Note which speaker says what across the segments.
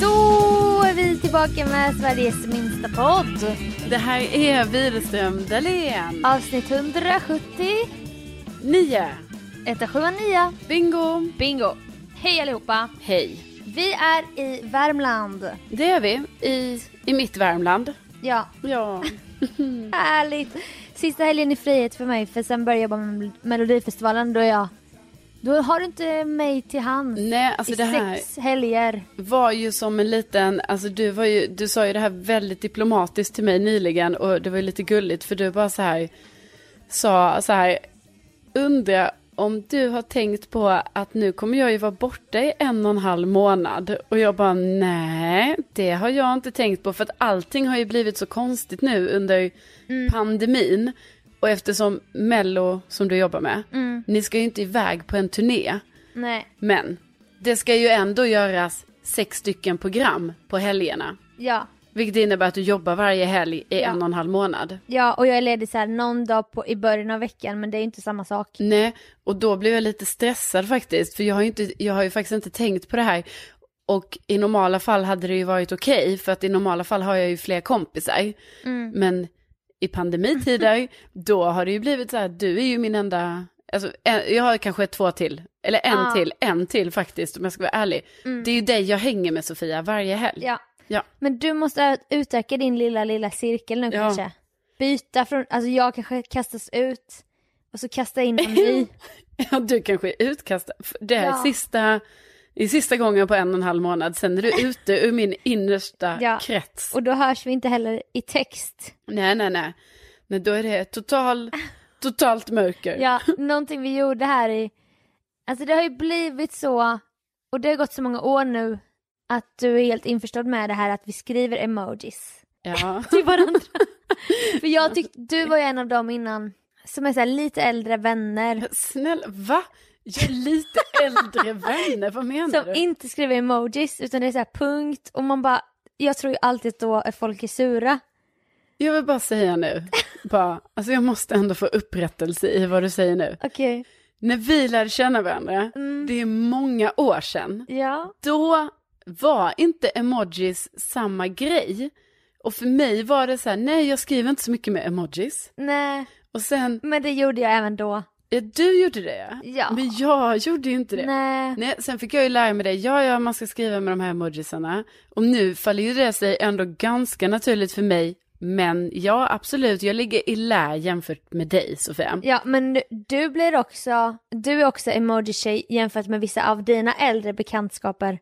Speaker 1: Då är vi tillbaka med Sveriges minsta podd.
Speaker 2: Det här är Widerström Dahlén.
Speaker 1: Avsnitt 170,
Speaker 2: 9.
Speaker 1: 179.
Speaker 2: Bingo.
Speaker 1: Bingo! Hej allihopa!
Speaker 2: Hej.
Speaker 1: Vi är i Värmland.
Speaker 2: Det är vi i, i mitt Värmland.
Speaker 1: Ja,
Speaker 2: Ja.
Speaker 1: härligt. Sista helgen i frihet för mig för sen börjar jag jobba med Melodifestivalen. Då är jag... Då har du inte mig till hand.
Speaker 2: Nej, alltså
Speaker 1: I
Speaker 2: det här
Speaker 1: sex helger.
Speaker 2: var ju som en liten, alltså du var ju, du sa ju det här väldigt diplomatiskt till mig nyligen och det var ju lite gulligt för du bara så här sa så här, undra om du har tänkt på att nu kommer jag ju vara borta i en och en halv månad. Och jag bara nej, det har jag inte tänkt på för att allting har ju blivit så konstigt nu under pandemin. Och eftersom Mello som du jobbar med, ni ska ju inte iväg på en turné.
Speaker 1: Nej,
Speaker 2: Men det ska ju ändå göras sex stycken program på helgerna.
Speaker 1: ja.
Speaker 2: Vilket innebär att du jobbar varje helg i
Speaker 1: Ja.
Speaker 2: en och en halv månad.
Speaker 1: Ja, och jag är ledig så här någon dag på, i början av veckan men det är ju inte samma sak.
Speaker 2: Nej, och då blev jag lite stressad faktiskt. För jag har ju, inte, jag har ju faktiskt inte tänkt på det här. Och i normala fall hade det ju varit okej, för att i normala fall har jag ju fler kompisar.
Speaker 1: Mm.
Speaker 2: Men i pandemitider, då har det ju blivit så här, du är ju min enda, alltså, en, jag har kanske två till, eller en
Speaker 1: Ja. Mm.
Speaker 2: till, en till faktiskt om jag ska vara ärlig. Det är ju dig jag hänger med Sofia varje helg.
Speaker 1: Ja.
Speaker 2: Ja.
Speaker 1: Men du måste ö- utöka din lilla, lilla cirkel nu
Speaker 2: Ja.
Speaker 1: kanske. Byta från, alltså jag kanske kastas ut och så kasta in honom i.
Speaker 2: Ja, du kanske är utkastad. F- Det är
Speaker 1: Ja.
Speaker 2: sista, i sista gången på en och en halv månad, sen är du ute ur min innersta
Speaker 1: Ja.
Speaker 2: krets.
Speaker 1: Och då hörs vi inte heller i text.
Speaker 2: Nej, nej, nej. Nej, då är det total, totalt mörker.
Speaker 1: Ja, någonting vi gjorde här i, alltså det har ju blivit så, och det har gått så många år nu, att du är helt införstådd med det här att vi skriver emojis
Speaker 2: Ja.
Speaker 1: till varandra. För jag tyckte, du var ju en av dem innan, som är så här lite äldre vänner.
Speaker 2: Snälla, va? Jag är lite äldre vänner, vad menar
Speaker 1: Som
Speaker 2: du?
Speaker 1: inte skriver emojis utan det är så här punkt och man bara jag tror ju alltid att då är folk är sura.
Speaker 2: Jag vill bara säga nu, bara, alltså jag måste ändå få upprättelse i vad du säger nu.
Speaker 1: Okej.
Speaker 2: När vi lärde känna varandra,
Speaker 1: Mm.
Speaker 2: det är många år sedan,
Speaker 1: Ja.
Speaker 2: då var inte emojis samma grej. Och för mig var det så här, nej jag skriver inte så mycket med emojis.
Speaker 1: Nej.
Speaker 2: Och sen,
Speaker 1: Men det gjorde jag även då.
Speaker 2: ja, du gjorde det
Speaker 1: Ja.
Speaker 2: Men jag gjorde ju inte det.
Speaker 1: Nej.
Speaker 2: Nej, sen fick jag ju lära mig det, ja ja man ska skriva med de här emojisarna. Och nu faller ju det sig ändå ganska naturligt för mig. Men ja absolut, jag ligger i lä jämfört med dig Sofia.
Speaker 1: Ja men du- du blir också, du är också emoji-tjej jämfört med vissa av dina äldre bekantskaper.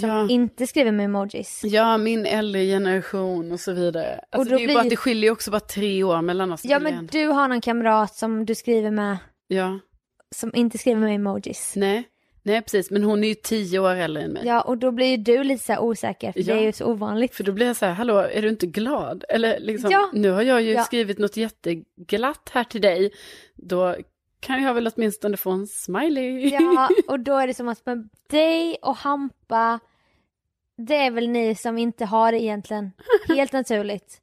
Speaker 1: som
Speaker 2: Ja.
Speaker 1: inte skriver med emojis.
Speaker 2: Ja, min äldre generation och så vidare. Alltså,
Speaker 1: då
Speaker 2: det, är ju
Speaker 1: blir-
Speaker 2: bara, att det skiljer ju också bara tre år mellan oss.
Speaker 1: Ja
Speaker 2: till
Speaker 1: men
Speaker 2: en.
Speaker 1: du har någon kamrat som du skriver med
Speaker 2: ja.
Speaker 1: som inte skriver med emojis.
Speaker 2: Nej. Nej, precis. Men hon är ju tio år äldre än mig.
Speaker 1: Ja och då blir ju du lite så här osäker för
Speaker 2: Ja.
Speaker 1: det är ju så ovanligt.
Speaker 2: För då blir jag så här, hallå, är du inte glad? Eller liksom,
Speaker 1: Ja.
Speaker 2: nu har jag ju
Speaker 1: Ja.
Speaker 2: skrivit något jätteglatt här till dig. Då kan jag väl åtminstone få en smiley.
Speaker 1: Ja och då är det som att med dig och Hampa, det är väl ni som inte har det egentligen helt naturligt.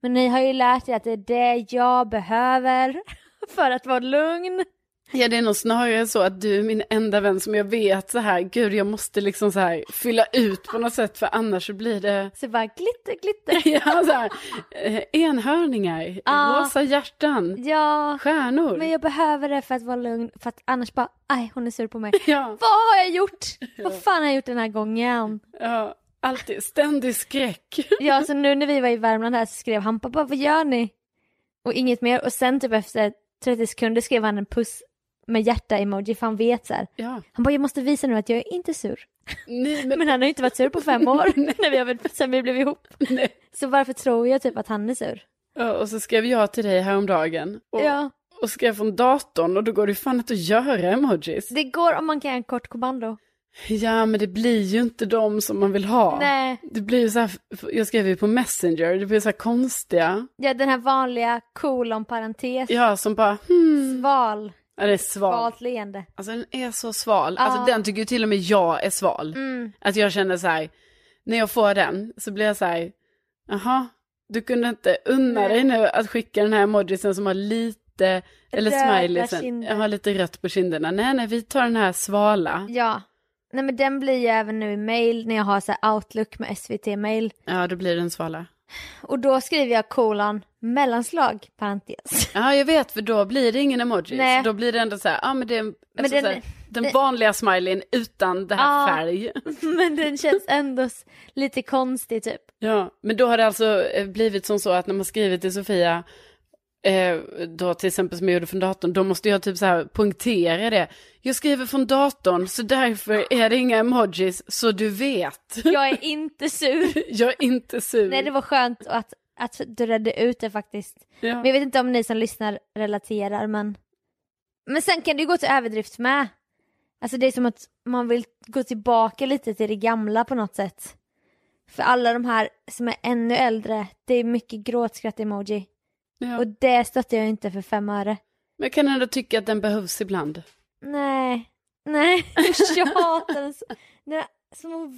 Speaker 1: Men ni har ju lärt er att det är det jag behöver för att vara lugn.
Speaker 2: Ja, det är nog snarare så att du är min enda vän som jag vet så här, gud, jag måste liksom så här fylla ut på något sätt, för annars så blir det
Speaker 1: Så bara glitter, glitter.
Speaker 2: ja, så här, eh, enhörningar,
Speaker 1: Ja.
Speaker 2: rosa hjärtan,
Speaker 1: Ja,
Speaker 2: stjärnor.
Speaker 1: men jag behöver det för att vara lugn för att annars bara, aj hon är sur på mig.
Speaker 2: Ja,
Speaker 1: Vad har jag gjort? Vad fan har jag gjort den här gången?
Speaker 2: ja, alltid ständig skräck.
Speaker 1: Ja, så nu när vi var i Värmland här så skrev han pappa vad gör ni? Och inget mer och sen typ efter 30 sekunder skrev han en puss med hjärta-emoji för han vet så här.
Speaker 2: Ja,
Speaker 1: Han bara jag måste visa nu att jag är inte sur.
Speaker 2: nej, men,
Speaker 1: Men han har ju inte varit sur på fem år när vi har, varit- sen vi blev ihop.
Speaker 2: nej.
Speaker 1: Så varför tror jag typ att han är sur?
Speaker 2: Ja, Och så skrev jag till dig häromdagen. Och,
Speaker 1: Ja,
Speaker 2: och skrev från datorn och då går det ju fan inte att göra emojis.
Speaker 1: det går om man kan göra en kort kommando.
Speaker 2: Ja, men det blir ju inte de som man vill ha.
Speaker 1: Nej,
Speaker 2: Det blir ju så här, jag skrev ju på Messenger, det blir så här konstiga.
Speaker 1: ja, den här vanliga kolon parentes,
Speaker 2: Ja, som bara, hmm,
Speaker 1: sval,
Speaker 2: ja, det är sval.
Speaker 1: svalt leende.
Speaker 2: Alltså den är så sval. Alltså den tycker ju till och med jag är sval.
Speaker 1: Mm.
Speaker 2: Att jag känner så här, när jag får den så blir jag så här, jaha, du kunde inte unna
Speaker 1: Nej.
Speaker 2: dig nu att skicka den här emojisen som har lite, eller
Speaker 1: Röda
Speaker 2: smileysen,
Speaker 1: kinder.
Speaker 2: jag har lite rött på kinderna. Nej, nej, vi tar den här svala.
Speaker 1: Ja. Nej men den blir ju även nu i mail när jag har så här outlook med SVT-mail.
Speaker 2: Ja, då blir den svala.
Speaker 1: Och då skriver jag kolon mellanslag parentes.
Speaker 2: Ja, jag vet, för då blir det ingen emoji.
Speaker 1: Nej.
Speaker 2: Så då blir det ändå så här, ja men det är en-
Speaker 1: Men
Speaker 2: alltså,
Speaker 1: den-
Speaker 2: så här, den
Speaker 1: den-
Speaker 2: vanliga smileyn utan det här
Speaker 1: Ja.
Speaker 2: färg.
Speaker 1: men den känns ändå s- lite konstig typ.
Speaker 2: Ja, men då har det alltså eh, blivit som så att när man skriver till Sofia, eh, då till exempel som jag gjorde från datorn, då måste jag typ så här punktera det. Jag skriver från datorn, så därför är det inga emojis, så du vet.
Speaker 1: Jag är inte sur.
Speaker 2: Jag är inte sur.
Speaker 1: Nej det var skönt att, att du redde ut det faktiskt.
Speaker 2: ja.
Speaker 1: Men jag vet inte om ni som lyssnar relaterar men. Men sen kan det ju gå till överdrift med. Alltså det är som att man vill gå tillbaka lite till det gamla på något sätt. För alla de här som är ännu äldre, det är mycket gråtskratt-emoji.
Speaker 2: ja.
Speaker 1: Och det stöttar jag inte för fem öre.
Speaker 2: Men jag kan ändå tycka att den behövs ibland.
Speaker 1: Nej, nej, jag hatar den så. Den har små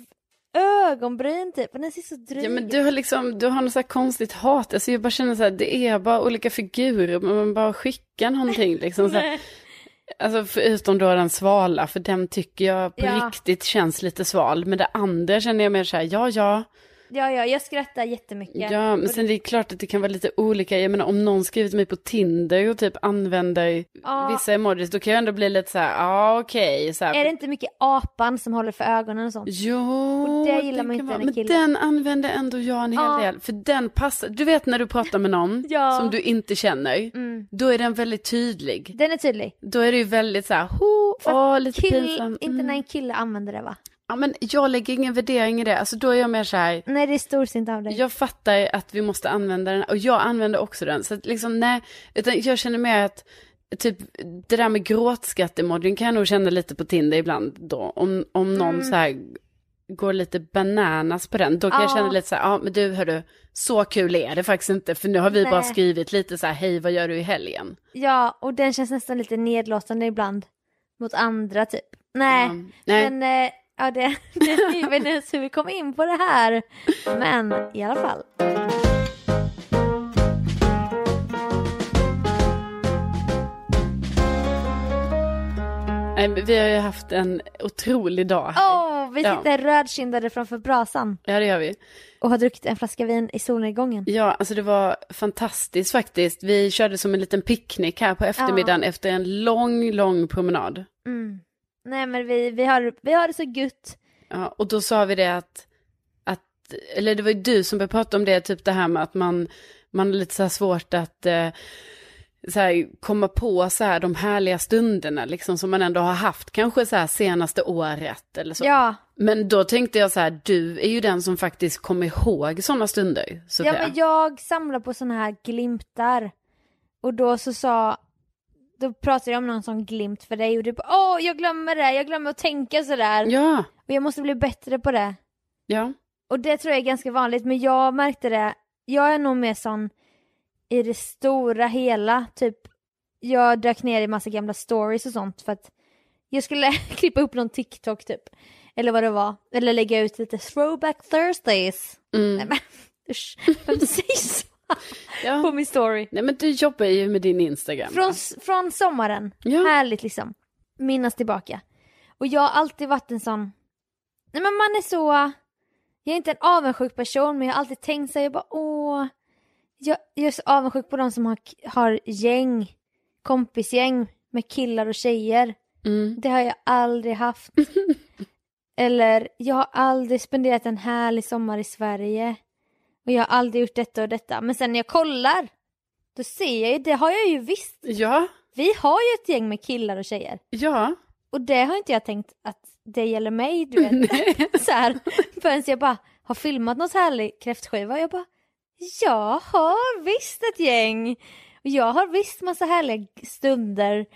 Speaker 1: ögonbryn typ, och den ser så dryg
Speaker 2: Ja, men du har liksom, du har något så här konstigt hat. Alltså jag bara känner så här, det är bara olika figurer, men man bara skickar någonting liksom. Så här.
Speaker 1: Nej.
Speaker 2: Alltså förutom då den svala, för den tycker jag på
Speaker 1: Ja.
Speaker 2: riktigt känns lite sval. Men det andra känner jag mer så här, ja ja.
Speaker 1: Ja, ja, jag skrattar jättemycket.
Speaker 2: Ja, men
Speaker 1: Och-
Speaker 2: sen det är klart att det kan vara lite olika. Jag menar om någon skriver till mig på Tinder och typ använder
Speaker 1: Ja.
Speaker 2: vissa emojis, då kan jag ändå bli lite så här, ja okej. så här.
Speaker 1: Är det inte mycket apan som håller för ögonen och sånt?
Speaker 2: Jo,
Speaker 1: Och det gillar man
Speaker 2: kan
Speaker 1: inte
Speaker 2: vara-
Speaker 1: när
Speaker 2: Men
Speaker 1: killar-
Speaker 2: den använder ändå jag en hel
Speaker 1: Ja.
Speaker 2: del. För den passar, du vet när du pratar med någon
Speaker 1: Ja. Mm.
Speaker 2: som du inte känner, då är den väldigt tydlig.
Speaker 1: Den är tydlig.
Speaker 2: Då är det ju väldigt så här, ho, åh, lite
Speaker 1: Kill...
Speaker 2: pinsam. Mm.
Speaker 1: Inte när en kille använder det va?
Speaker 2: Ja, men jag lägger ingen värdering i det. Alltså då är jag mer så här,
Speaker 1: Nej, det är storsint av dig.
Speaker 2: jag fattar att vi måste använda den och jag använder också den. Så att liksom nej, utan jag känner mer att typ det där med gråtskrattemodden kan jag nog känna lite på Tinder ibland då. Om, om någon
Speaker 1: Mm.
Speaker 2: så här går lite bananas på den, då kan jag
Speaker 1: Ja.
Speaker 2: känna lite så här, ja men du hörru, så kul är det faktiskt inte, för nu har vi bara
Speaker 1: Nej.
Speaker 2: skrivit lite så här, hej vad gör du i helgen?
Speaker 1: Ja, och den känns nästan lite nedlåtande ibland. Mot andra typ. Nej,
Speaker 2: Ja, nej.
Speaker 1: men eh, ja, det, det, jag vet inte ens hur vi kom in på det här. Men i alla fall.
Speaker 2: Nej, men vi har ju haft en otrolig dag här.
Speaker 1: Åh, vi
Speaker 2: Ja.
Speaker 1: sitter rödkindade framför brasan
Speaker 2: Ja det gör vi.
Speaker 1: och har druckit en flaska vin i solnedgången.
Speaker 2: Ja, alltså det var fantastiskt faktiskt. Vi körde som en liten picknick här på eftermiddagen efter en lång, lång promenad.
Speaker 1: Mm. Nej men vi, vi, har, vi har det så gött.
Speaker 2: Ja, och då sa vi det att, att, eller det var ju du som började prata om det, typ det här med att man, man har lite så här svårt att eh, så här, komma på så här de härliga stunderna liksom som man ändå har haft kanske så här senaste året eller så.
Speaker 1: Ja,
Speaker 2: Men då tänkte jag så här, du är ju den som faktiskt kommer ihåg sådana stunder, Sofia.
Speaker 1: Ja men jag samlar på sådana här glimtar. Och då så sa, då pratade jag om någon sån glimt för dig och du bara åh jag glömmer det, jag glömmer att tänka sådär.
Speaker 2: ja,
Speaker 1: Och jag måste bli bättre på det.
Speaker 2: ja.
Speaker 1: Och det tror jag är ganska vanligt men jag märkte det, jag är nog mer sån i det stora hela, typ jag dök ner i massa gamla stories och sånt för att jag skulle klippa upp någon TikTok typ. Eller vad det var. Eller lägga ut lite throwback Thursdays. Nej men usch, vem säger så?
Speaker 2: Ja.
Speaker 1: På min story.
Speaker 2: Nej men du jobbar ju med din Instagram.
Speaker 1: Från,
Speaker 2: va?
Speaker 1: från sommaren.
Speaker 2: Ja.
Speaker 1: Härligt liksom. Minnas tillbaka. Och jag har alltid varit en sån... Nej men man är så... Jag är inte en avundsjuk person men jag har alltid tänkt så här, jag bara åh. Jag, jag är så avundsjuk på de som har, har gäng. Kompisgäng med killar och tjejer.
Speaker 2: Mm.
Speaker 1: Det har jag aldrig haft. Eller, jag har aldrig spenderat en härlig sommar i Sverige. Och jag har aldrig gjort detta och detta. Men sen när jag kollar, då ser jag ju, det har jag ju visst.
Speaker 2: Ja,
Speaker 1: Vi har ju ett gäng med killar och tjejer.
Speaker 2: ja.
Speaker 1: Och det har inte jag tänkt att det gäller mig, du vet. så här. Förrän jag bara har filmat någon så härlig kräftskiva och jag bara Jag har visst ett gäng! Och jag har visst massa härliga stunder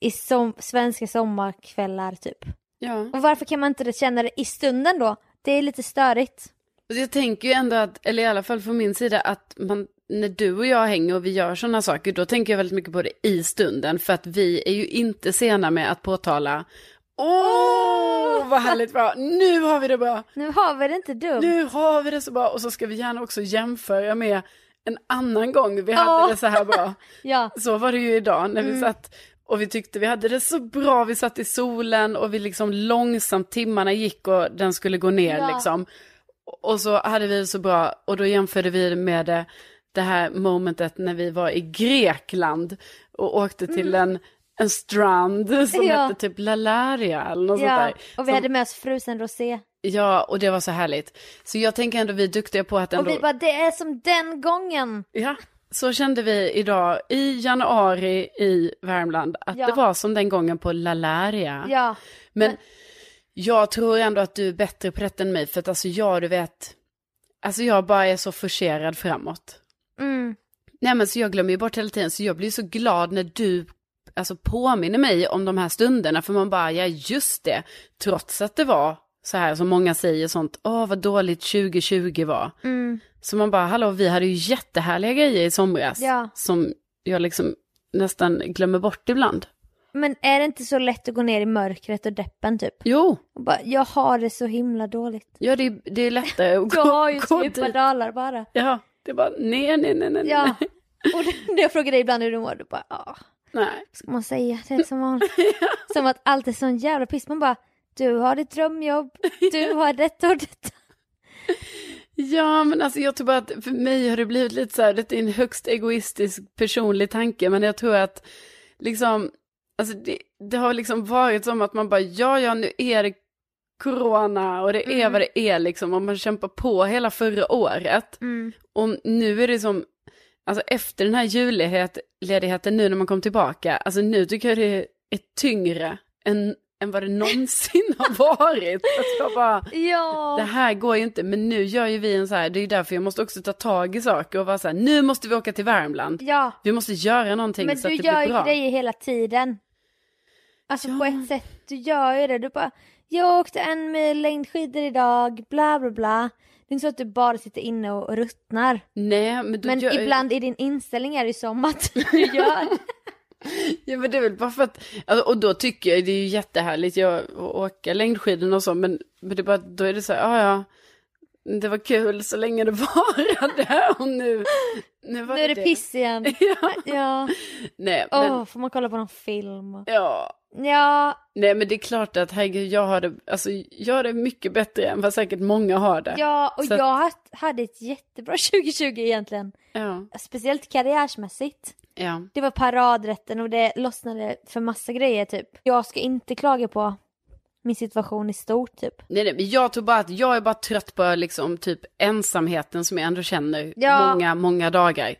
Speaker 1: i som, svenska sommarkvällar typ.
Speaker 2: ja.
Speaker 1: Och varför kan man inte det- känna det i stunden då? Det är lite störigt.
Speaker 2: Och Jag tänker ju ändå att, eller i alla fall från min sida, att man, när du och jag hänger och vi gör sådana saker, då tänker jag väldigt mycket på det i stunden, för att vi är ju inte sena med att påtala, åh vad härligt bra, nu har vi det bra,
Speaker 1: Nu har vi det inte dumt.
Speaker 2: nu har vi det så bra, och så ska vi gärna också jämföra med en annan gång vi hade
Speaker 1: Ja.
Speaker 2: det så här bra.
Speaker 1: Ja.
Speaker 2: Så var det ju idag när
Speaker 1: Mm.
Speaker 2: vi satt och vi tyckte vi hade det så bra, vi satt i solen och vi liksom långsamt timmarna gick och den skulle gå ner
Speaker 1: Ja.
Speaker 2: liksom. Och så hade vi det så bra och då jämförde vi det med det, det här momentet när vi var i Grekland och åkte till en, en strand som
Speaker 1: Mm. Ja.
Speaker 2: hette typ Lalaria eller något sånt
Speaker 1: ja.
Speaker 2: Alltså, där.
Speaker 1: Och vi
Speaker 2: Som-
Speaker 1: hade med oss frusen rosé.
Speaker 2: Ja, och det var så härligt. Så jag tänker ändå vi är duktiga på att ändå...
Speaker 1: Och vi bara, det är som den gången.
Speaker 2: Ja, så kände vi idag i januari i Värmland att
Speaker 1: Ja.
Speaker 2: det var som den gången på Lalaria.
Speaker 1: Ja.
Speaker 2: Men jag tror ändå att du är bättre på detta än mig för att alltså jag, du vet, alltså jag bara är så forcerad framåt.
Speaker 1: Mm.
Speaker 2: Nej men så jag glömmer ju bort hela tiden så jag blir så glad när du alltså påminner mig om de här stunderna för man bara, ja just det, trots att det var så här som många säger sånt, åh vad dåligt 2020 var.
Speaker 1: Mm.
Speaker 2: Så man bara, hallå, vi hade ju jättehärliga grejer i somras.
Speaker 1: Ja.
Speaker 2: Som jag liksom nästan glömmer bort ibland.
Speaker 1: Men är det inte så lätt att gå ner i mörkret och deppen typ?
Speaker 2: Jo,
Speaker 1: Och bara, jag har det så himla dåligt.
Speaker 2: ja, det, är- det är lättare att gå,
Speaker 1: Jag har ju så
Speaker 2: gå
Speaker 1: djupa
Speaker 2: dit.
Speaker 1: dalar bara.
Speaker 2: Ja, det är bara, nej, nej, nej, nej.
Speaker 1: Ja.
Speaker 2: nej.
Speaker 1: Och det- när jag frågar dig ibland hur du mår, du bara ja, vad
Speaker 2: nej.
Speaker 1: ska man säga? Det är som vanligt. Som att allt är sån jävla piss. Man bara, du har ditt drömjobb, du har detta och detta.
Speaker 2: Ja, men alltså jag tror bara att för mig har det blivit lite så här, det är en högst egoistisk personlig tanke, men jag tror att liksom, alltså det, det har liksom varit som att man bara, ja, ja, nu är det corona och det är
Speaker 1: Mm.
Speaker 2: vad det är liksom, och man kämpar på hela förra året. Och nu är det som, alltså efter den här julledigheten nu när man kom tillbaka, alltså nu tycker jag det är tyngre än, än vad det någonsin har varit. Att jag bara,
Speaker 1: Ja.
Speaker 2: det här går ju inte, men nu gör ju vi en så här, det är ju därför jag måste också ta tag i saker och vara så här, nu måste vi åka till Värmland.
Speaker 1: Ja.
Speaker 2: Vi måste göra någonting
Speaker 1: Men
Speaker 2: så
Speaker 1: du
Speaker 2: att det
Speaker 1: gör
Speaker 2: blir
Speaker 1: ju
Speaker 2: bra.
Speaker 1: grejer hela tiden. Alltså
Speaker 2: Ja.
Speaker 1: på ett sätt, du gör ju det. Du bara, jag åkte en mil längdskidor idag, bla bla bla. Det är inte så att du bara sitter inne och ruttnar.
Speaker 2: Nej, men, du
Speaker 1: Men
Speaker 2: gör...
Speaker 1: ibland i din inställning är det ju som att du gör
Speaker 2: Ja, men det är väl bara för att, alltså, och då tycker jag det är ju jättehärligt, jag att åka längdskidorna och så, men, men det är bara, då är det så här, ja ja, det var kul så länge det varade och nu, nu var
Speaker 1: nu är det piss igen.
Speaker 2: Ja,
Speaker 1: Ja,
Speaker 2: nej,
Speaker 1: åh,
Speaker 2: men,
Speaker 1: får man kolla på någon film?
Speaker 2: ja,
Speaker 1: Ja,
Speaker 2: nej, men det är klart att herregud, jag har det, alltså, jag har det mycket bättre än vad säkert många har det.
Speaker 1: ja och
Speaker 2: Så att-
Speaker 1: jag haft- hade ett jättebra 2020 egentligen.
Speaker 2: Ja,
Speaker 1: Speciellt karriärsmässigt.
Speaker 2: ja.
Speaker 1: Det var paradrätten och det lossnade för massa grejer typ. Jag ska inte klaga på min situation i stort typ.
Speaker 2: Nej, nej, men jag tror bara att jag är bara trött på liksom typ ensamheten som jag ändå känner
Speaker 1: Ja.
Speaker 2: många, många dagar.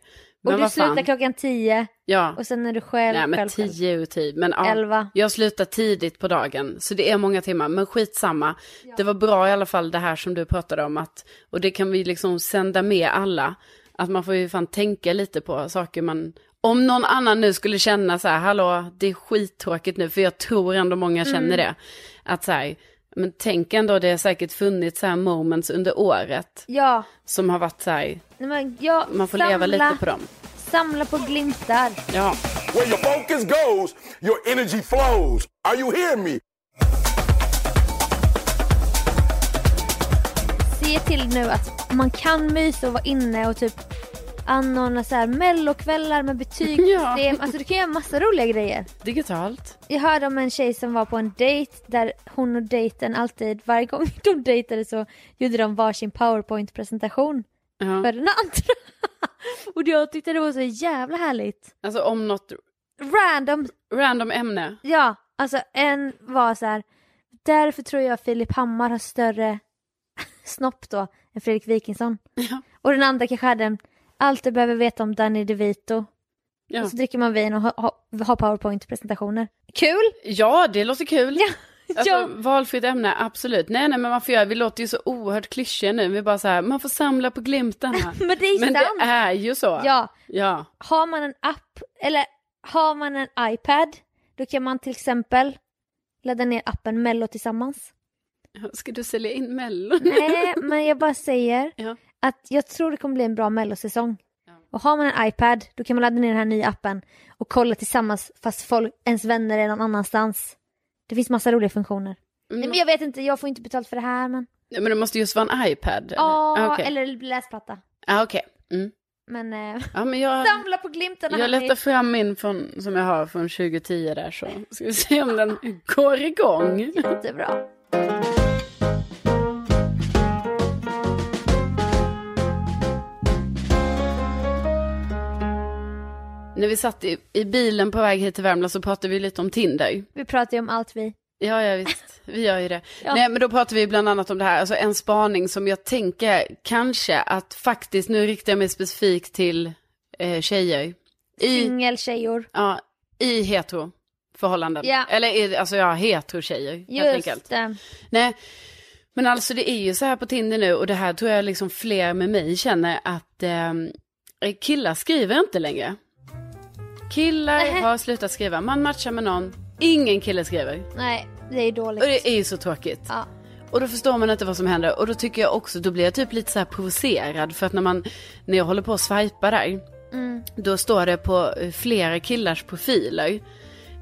Speaker 2: Men
Speaker 1: Och du
Speaker 2: vad fan.
Speaker 1: slutar klockan 10
Speaker 2: Ja.
Speaker 1: och sen är du själv.
Speaker 2: Nej men
Speaker 1: själv, själv.
Speaker 2: tio ur tio. Men ja,
Speaker 1: Elva.
Speaker 2: jag slutar tidigt på dagen. Så det är många timmar. Men skitsamma. Det var bra i alla fall det här som du pratade om. Att, och det kan vi liksom sända med alla. Att man får ju fan tänka lite på saker man... Om någon annan nu skulle känna så här, hallå, det är skittråkigt nu. För jag tror ändå många
Speaker 1: Mm.
Speaker 2: känner det. Att så här, men tänk ändå, det har säkert funnits så här moments under året.
Speaker 1: Ja,
Speaker 2: Som har varit så här,
Speaker 1: nej, men ja,
Speaker 2: man får
Speaker 1: samla,
Speaker 2: leva lite på dem.
Speaker 1: Samla på glimtar.
Speaker 2: Ja.
Speaker 3: Where your focus goes, your energy flows. Are you hearing me?
Speaker 1: Se till nu att man kan mysa och vara inne och typ anordna så här mellokvällar med betygssystem. Alltså du kan göra massa roliga grejer.
Speaker 2: Digitalt.
Speaker 1: Jag hörde om en tjej som var på en dejt där hon och dejten alltid, varje gång de dejtade så gjorde de varsin powerpoint-presentation
Speaker 2: Ja.
Speaker 1: för den andra. Och jag tyckte det var så jävla härligt.
Speaker 2: Alltså om något
Speaker 1: Random,
Speaker 2: random ämne.
Speaker 1: ja, alltså en var så här. därför tror jag Filip Hammar har större snopp då än Fredrik Wikingsson. Och den andra kanske hade en, allt du behöver veta om Danny DeVito.
Speaker 2: Ja.
Speaker 1: Och så dricker man vin och har ha, ha powerpoint-presentationer. Kul!
Speaker 2: ja, det låter kul.
Speaker 1: Ja.
Speaker 2: Alltså,
Speaker 1: Ja.
Speaker 2: Valfritt ämne, absolut. Nej, nej, men man får göra, vi låter ju så oerhört klyschiga nu. Vi är bara så här, man får samla på glimtarna.
Speaker 1: Men det är
Speaker 2: men
Speaker 1: sant!
Speaker 2: det är ju så.
Speaker 1: Ja,
Speaker 2: Ja.
Speaker 1: har man en app, eller har man en iPad, då kan man till exempel ladda ner appen Mello tillsammans.
Speaker 2: Ska du sälja in Mello?
Speaker 1: Nej, men jag bara säger
Speaker 2: Ja.
Speaker 1: att jag tror det kommer bli en bra mellosäsong. Och har man en iPad, då kan man ladda ner den här nya appen och kolla tillsammans fast folk, ens vänner är någon annanstans. Det finns massa roliga funktioner.
Speaker 2: Mm.
Speaker 1: Nej, men jag vet inte, jag får inte betalt för det här men...
Speaker 2: Nej, Men det måste just vara en iPad. eller? Ah,
Speaker 1: Ja,
Speaker 2: okej.
Speaker 1: eller läsplatta.
Speaker 2: Ah, okej. Mm.
Speaker 1: Men eh,
Speaker 2: Ja, men jag,
Speaker 1: samla på glimtarna
Speaker 2: jag
Speaker 1: hörni.
Speaker 2: letar fram min från, som jag har från 2010 där så ska vi se om den går igång.
Speaker 1: Jättebra.
Speaker 2: När vi satt i, i bilen på väg hit till Värmland så pratade vi lite om Tinder.
Speaker 1: Vi pratar ju om allt vi.
Speaker 2: Ja, ja visst. Vi gör ju det.
Speaker 1: Ja.
Speaker 2: Nej, men då pratar vi bland annat om det här, alltså en spaning som jag tänker kanske att faktiskt, nu riktar jag mig specifikt till eh, tjejer. I,
Speaker 1: Singeltjejor.
Speaker 2: ja, i heteroförhållanden.
Speaker 1: Ja.
Speaker 2: Eller i, alltså ja, heterotjejer helt enkelt.
Speaker 1: Just det.
Speaker 2: Nej, men alltså det är ju så här på Tinder nu och det här tror jag liksom fler med mig känner att eh, killar skriver inte längre. Killar
Speaker 1: Nähä.
Speaker 2: har slutat skriva, man matchar med någon, ingen kille skriver.
Speaker 1: Nej, det är
Speaker 2: Och
Speaker 1: dåligt.
Speaker 2: det är ju så tråkigt.
Speaker 1: Ja.
Speaker 2: Och då förstår man inte vad som händer och då tycker jag också, då blir jag typ lite så här provocerad för att när man, när jag håller på att swipa där,
Speaker 1: Mm.
Speaker 2: då står det på eh, flera killars profiler.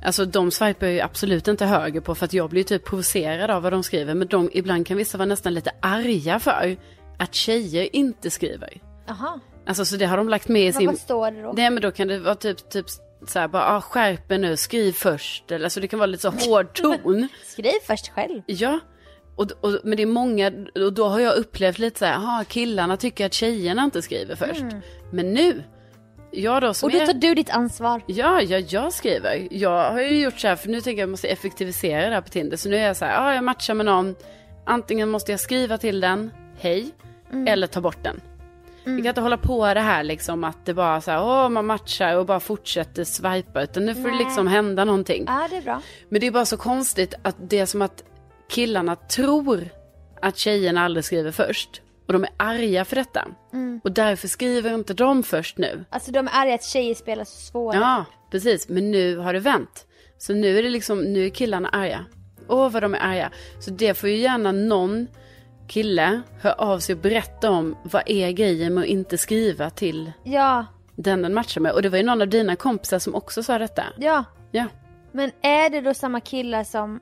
Speaker 2: Alltså de swipar jag ju absolut inte höger på för att jag blir ju typ provocerad av vad de skriver men de, ibland kan vissa vara nästan lite arga för att tjejer inte skriver.
Speaker 1: Jaha.
Speaker 2: Alltså så det har de lagt med i
Speaker 1: Men
Speaker 2: sin...
Speaker 1: vad står det då?
Speaker 2: Nej men då kan det vara typ, typ så här bara, ah, skärp er nu, skriv först. Eller, alltså det kan vara lite så hård ton.
Speaker 1: Skriv först själv.
Speaker 2: Ja, och, och, men det är många, och då har jag upplevt lite så här, aha, killarna tycker att tjejerna inte skriver först. Men nu, jag då som
Speaker 1: Mm. Och då tar
Speaker 2: är...
Speaker 1: du ditt ansvar.
Speaker 2: Ja, ja, jag skriver. Jag har ju gjort så här, för nu tänker jag att jag måste effektivisera det här på Tinder. Så nu är jag så här, ja, jag matchar med någon. Antingen måste jag skriva till den, hej,
Speaker 1: Mm.
Speaker 2: eller ta bort den. Vi kan inte hålla på det här liksom att det bara så här, åh, man matchar och bara fortsätter swipa. Utan nu får det liksom hända någonting.
Speaker 1: Ja, det är bra.
Speaker 2: Men det är bara så konstigt att det är som att killarna tror att tjejerna aldrig skriver först. Och de är arga för detta.
Speaker 1: Mm.
Speaker 2: Och därför skriver inte de först nu.
Speaker 1: Alltså de är arga att tjejer spelar så svåra.
Speaker 2: Ja, precis. Men nu har det vänt. Så nu är det liksom, nu är killarna arga. Åh, vad de är arga. Så det får ju gärna någon kille höra av sig och berätta om vad är grejen med att inte skriva till
Speaker 1: ja,
Speaker 2: den den matchar med. Och det var ju någon av dina kompisar som också sa detta.
Speaker 1: ja.
Speaker 2: Ja.
Speaker 1: Men är det då samma killar som...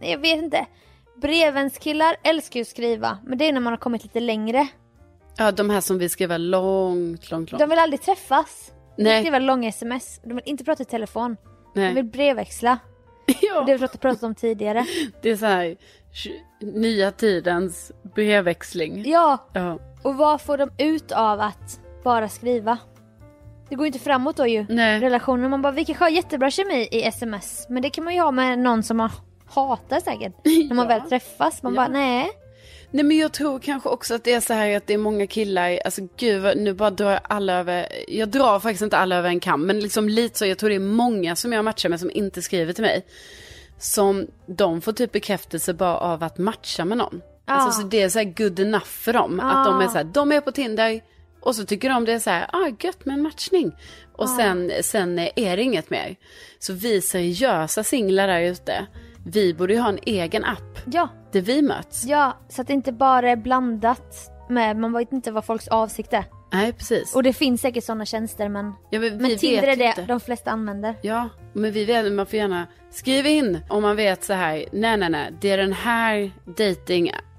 Speaker 1: Nej, jag vet inte. Brevens killar älskar ju att skriva, men det är när man har kommit lite längre.
Speaker 2: Ja, de här som vill skriva långt, långt, långt.
Speaker 1: De vill aldrig träffas. De vill
Speaker 2: Nej.
Speaker 1: skriva långa sms. De vill inte prata i telefon.
Speaker 2: Nej.
Speaker 1: De vill brevväxla.
Speaker 2: Ja.
Speaker 1: Och det har vi pratat- pratat om tidigare.
Speaker 2: Det är så här, tj- nya tidens brevväxling.
Speaker 1: Ja,
Speaker 2: Ja.
Speaker 1: Och vad får de ut av att bara skriva? Det går ju inte framåt då ju.
Speaker 2: Nej.
Speaker 1: Relationer. Man bara, vi kanske har jättebra kemi i sms. Men det kan man ju ha med någon som man hatar säkert. När man
Speaker 2: Ja.
Speaker 1: väl träffas. Man
Speaker 2: Ja.
Speaker 1: bara, nej.
Speaker 2: Nej men jag tror kanske också att det är så här att det är många killar, alltså gud vad- nu bara drar jag alla över, jag drar faktiskt inte alla över en kam men liksom lite så, jag tror det är många som jag matchar med som inte skriver till mig. Som de får typ bekräftelse bara av att matcha med någon. Alltså
Speaker 1: Ah.
Speaker 2: så det är så här good enough för dem. Att de är så här, de är på Tinder och så tycker de det är så här, ah gött med en matchning. Och
Speaker 1: Ah.
Speaker 2: sen, sen är det inget mer. Så vi seriösa singlar där ute, vi borde ju ha en egen app
Speaker 1: Ja,
Speaker 2: där vi möts.
Speaker 1: ja, så att det inte bara är blandat med, man vet inte vad folks avsikt är.
Speaker 2: Nej, precis.
Speaker 1: Och det finns säkert sådana tjänster men,
Speaker 2: Ja, men vi
Speaker 1: men Tinder är
Speaker 2: vet
Speaker 1: det
Speaker 2: inte.
Speaker 1: de flesta använder.
Speaker 2: Ja, men vi vet, man får gärna skriva in om man vet så här, nej nej nej, det är den här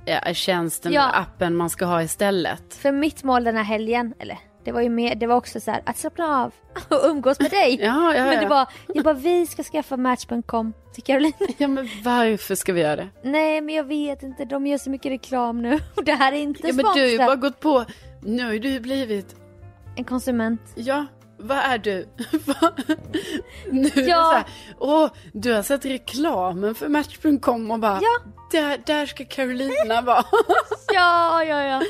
Speaker 2: datingtjänsten
Speaker 1: Ja.
Speaker 2: eller appen man ska ha istället.
Speaker 1: För mitt mål den här helgen, eller det var ju mer, det var också så här att slappna av och umgås med dig.
Speaker 2: Ja, ja,
Speaker 1: men det
Speaker 2: ja.
Speaker 1: var, jag bara vi ska skaffa Match.com till Caroline.
Speaker 2: Ja, men varför ska vi göra det?
Speaker 1: Nej men jag vet inte, de gör så mycket reklam nu och det här är inte
Speaker 2: Ja, men du har ju
Speaker 1: sponsrat.
Speaker 2: bara gått på, nu har ju du blivit,
Speaker 1: En konsument.
Speaker 2: ja, vad är du? Vad- nu är det
Speaker 1: Ja.
Speaker 2: så här, åh, du har sett reklamen för Match.com och bara,
Speaker 1: Ja.
Speaker 2: där, där ska Carolina vara.
Speaker 1: Ja, ja, ja.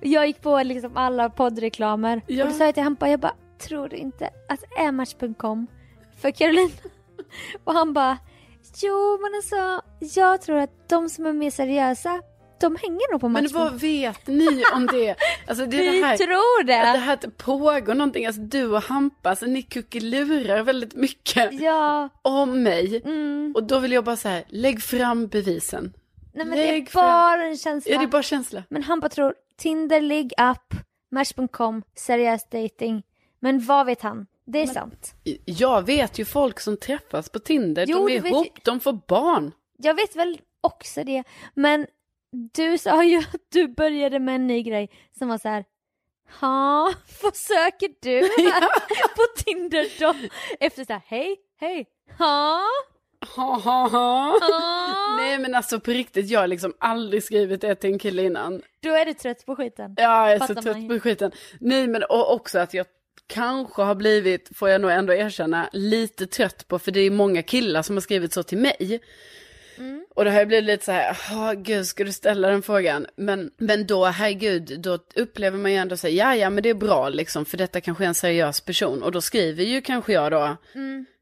Speaker 1: Jag gick på liksom alla poddreklamer.
Speaker 2: Ja.
Speaker 1: Och då sa jag till Hampa, jag bara, tror du inte att ematch.com för Caroline? Och han bara, jo men alltså, jag tror att de som är mer seriösa, de hänger nog på
Speaker 2: Men
Speaker 1: match.
Speaker 2: vad vet ni om det? Alltså det är
Speaker 1: Vi
Speaker 2: det här.
Speaker 1: tror
Speaker 2: Att det
Speaker 1: det!
Speaker 2: här att det pågår någonting, alltså du och Hampa, alltså ni kuckelurar väldigt mycket
Speaker 1: Ja,
Speaker 2: om mig.
Speaker 1: mm.
Speaker 2: Och då vill jag bara så här, lägg fram bevisen.
Speaker 1: Nej men det
Speaker 2: Lägg
Speaker 1: är
Speaker 2: fram-
Speaker 1: bara en känsla.
Speaker 2: Är det bara känsla?
Speaker 1: Men Hampa tror Tinder, ligg app, Match.com, seriös dating. Men vad vet han? Det är sant.
Speaker 2: Jag vet ju folk som träffas på Tinder,
Speaker 1: Jo,
Speaker 2: de är
Speaker 1: du vet
Speaker 2: ihop,
Speaker 1: ju-
Speaker 2: de får barn.
Speaker 1: Jag vet väl också det, men du sa ju att du började med en ny grej som var så här. Ja, vad söker du här på Tinder då? Efter så här, hej, hej, ja,
Speaker 2: Ha, ha, ha.
Speaker 1: ja.
Speaker 2: Nej men alltså på riktigt, jag har liksom aldrig skrivit det till en kille innan.
Speaker 1: Då är du trött på skiten.
Speaker 2: Ja, jag är så
Speaker 1: Fattar man
Speaker 2: trött
Speaker 1: ju.
Speaker 2: på skiten. Nej, men och också att jag kanske har blivit, får jag nog ändå erkänna, lite trött på, för det är många killar som har skrivit så till mig.
Speaker 1: Mm.
Speaker 2: Och då har jag blivit lite så här, ja gud, ska du ställa den frågan? Men, men då, herregud, då upplever man ju ändå så här, ja, ja, men det är bra liksom, för detta kanske är en seriös person. Och då skriver ju kanske jag då,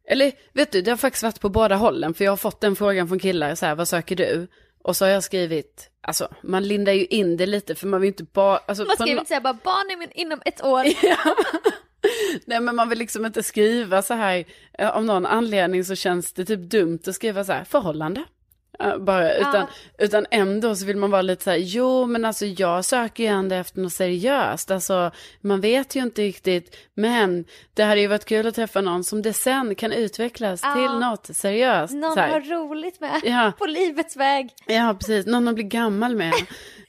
Speaker 2: eller vet du, det har faktiskt varit på båda hållen, för jag har fått den frågan från killar, så här, vad söker du? Och så har jag skrivit, alltså man lindar ju in det lite, för man vill ju inte bara... Alltså,
Speaker 1: Man
Speaker 2: på
Speaker 1: ska ju
Speaker 2: nå-
Speaker 1: inte säga bara barn är min inom ett år.
Speaker 2: Nej men man vill liksom inte skriva så här, eh, av någon anledning så känns det typ dumt att skriva så här, förhållande. Eh, Bara, utan, utan ändå så vill man vara lite så här, jo men alltså jag söker ju ändå efter något seriöst, alltså man vet ju inte riktigt, men det hade ju varit kul att träffa någon som det sen kan utvecklas till något seriöst.
Speaker 1: Någon
Speaker 2: så här.
Speaker 1: har roligt med
Speaker 2: Ja.
Speaker 1: på livets väg.
Speaker 2: Ja, precis. Någon man blir gammal med.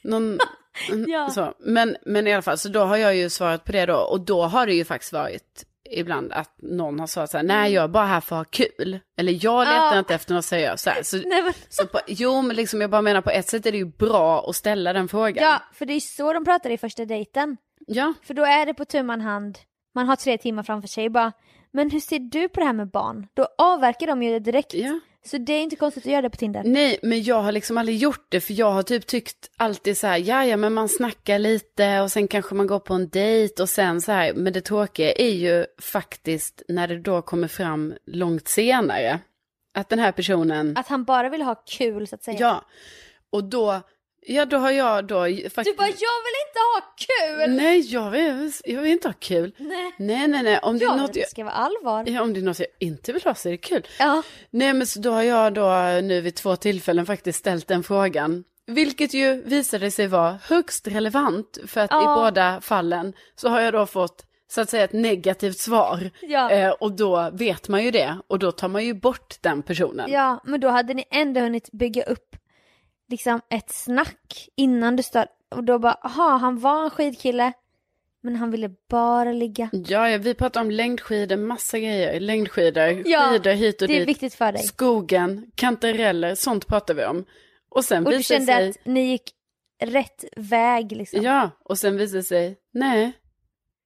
Speaker 2: Någon,
Speaker 1: Ja.
Speaker 2: så. Men, men i alla fall, så då har jag ju svarat på det då. Och då har det ju faktiskt varit ibland att någon har svarat så här, nej jag är bara här för att ha kul. Eller jag letar
Speaker 1: Ja.
Speaker 2: inte efter något seriöst. Så här. Så,
Speaker 1: Nej, men,
Speaker 2: så på, jo, men liksom, jag bara menar på ett sätt är det ju bra att ställa den frågan.
Speaker 1: ja, för det är ju så de pratar i första dejten.
Speaker 2: ja.
Speaker 1: För då är det på tu man hand, man har tre timmar framför sig bara Men hur ser du på det här med barn? Då avverkar de ju det direkt.
Speaker 2: Ja.
Speaker 1: Så det är inte konstigt att göra det på Tinder.
Speaker 2: Nej, men jag har liksom aldrig gjort det för jag har typ tyckt alltid så här, ja ja men man snackar lite och sen kanske man går på en dejt och sen så här, men det tråkiga är ju faktiskt när det då kommer fram långt senare att den här personen,
Speaker 1: Att han bara vill ha kul så att säga.
Speaker 2: ja, och då, ja då har jag då
Speaker 1: Du
Speaker 2: faktiskt...
Speaker 1: bara, jag vill inte ha kul!
Speaker 2: Nej, jag vill, jag vill inte ha kul.
Speaker 1: Nej.
Speaker 2: Nej, nej, nej, om det, är
Speaker 1: jag vill
Speaker 2: något
Speaker 1: att det
Speaker 2: jag,
Speaker 1: ska vara allvar.
Speaker 2: ja, om det är något jag inte vill ha så är det kul.
Speaker 1: Ja.
Speaker 2: Nej men så då har jag då eh, nu vid två tillfällen faktiskt ställt den frågan. Vilket ju visade sig vara högst relevant för att
Speaker 1: Ja.
Speaker 2: i båda fallen så har jag då fått så att säga ett negativt svar.
Speaker 1: Ja.
Speaker 2: Eh, och då vet man ju det och då tar man ju bort den personen.
Speaker 1: ja, men då hade ni ändå hunnit bygga upp liksom ett snack innan du stod och då bara, aha, han var en skidkille men han ville bara ligga.
Speaker 2: Ja, ja, vi pratar om längdskidor, massa grejer. Längdskidor,
Speaker 1: Ja,
Speaker 2: skidor hit och
Speaker 1: det är
Speaker 2: dit.
Speaker 1: viktigt för dig.
Speaker 2: Skogen, kantareller, sånt pratar vi om. Och sen
Speaker 1: Och du
Speaker 2: visar det
Speaker 1: kände
Speaker 2: sig...
Speaker 1: att ni gick rätt väg liksom.
Speaker 2: Ja, och sen visar det sig, nej,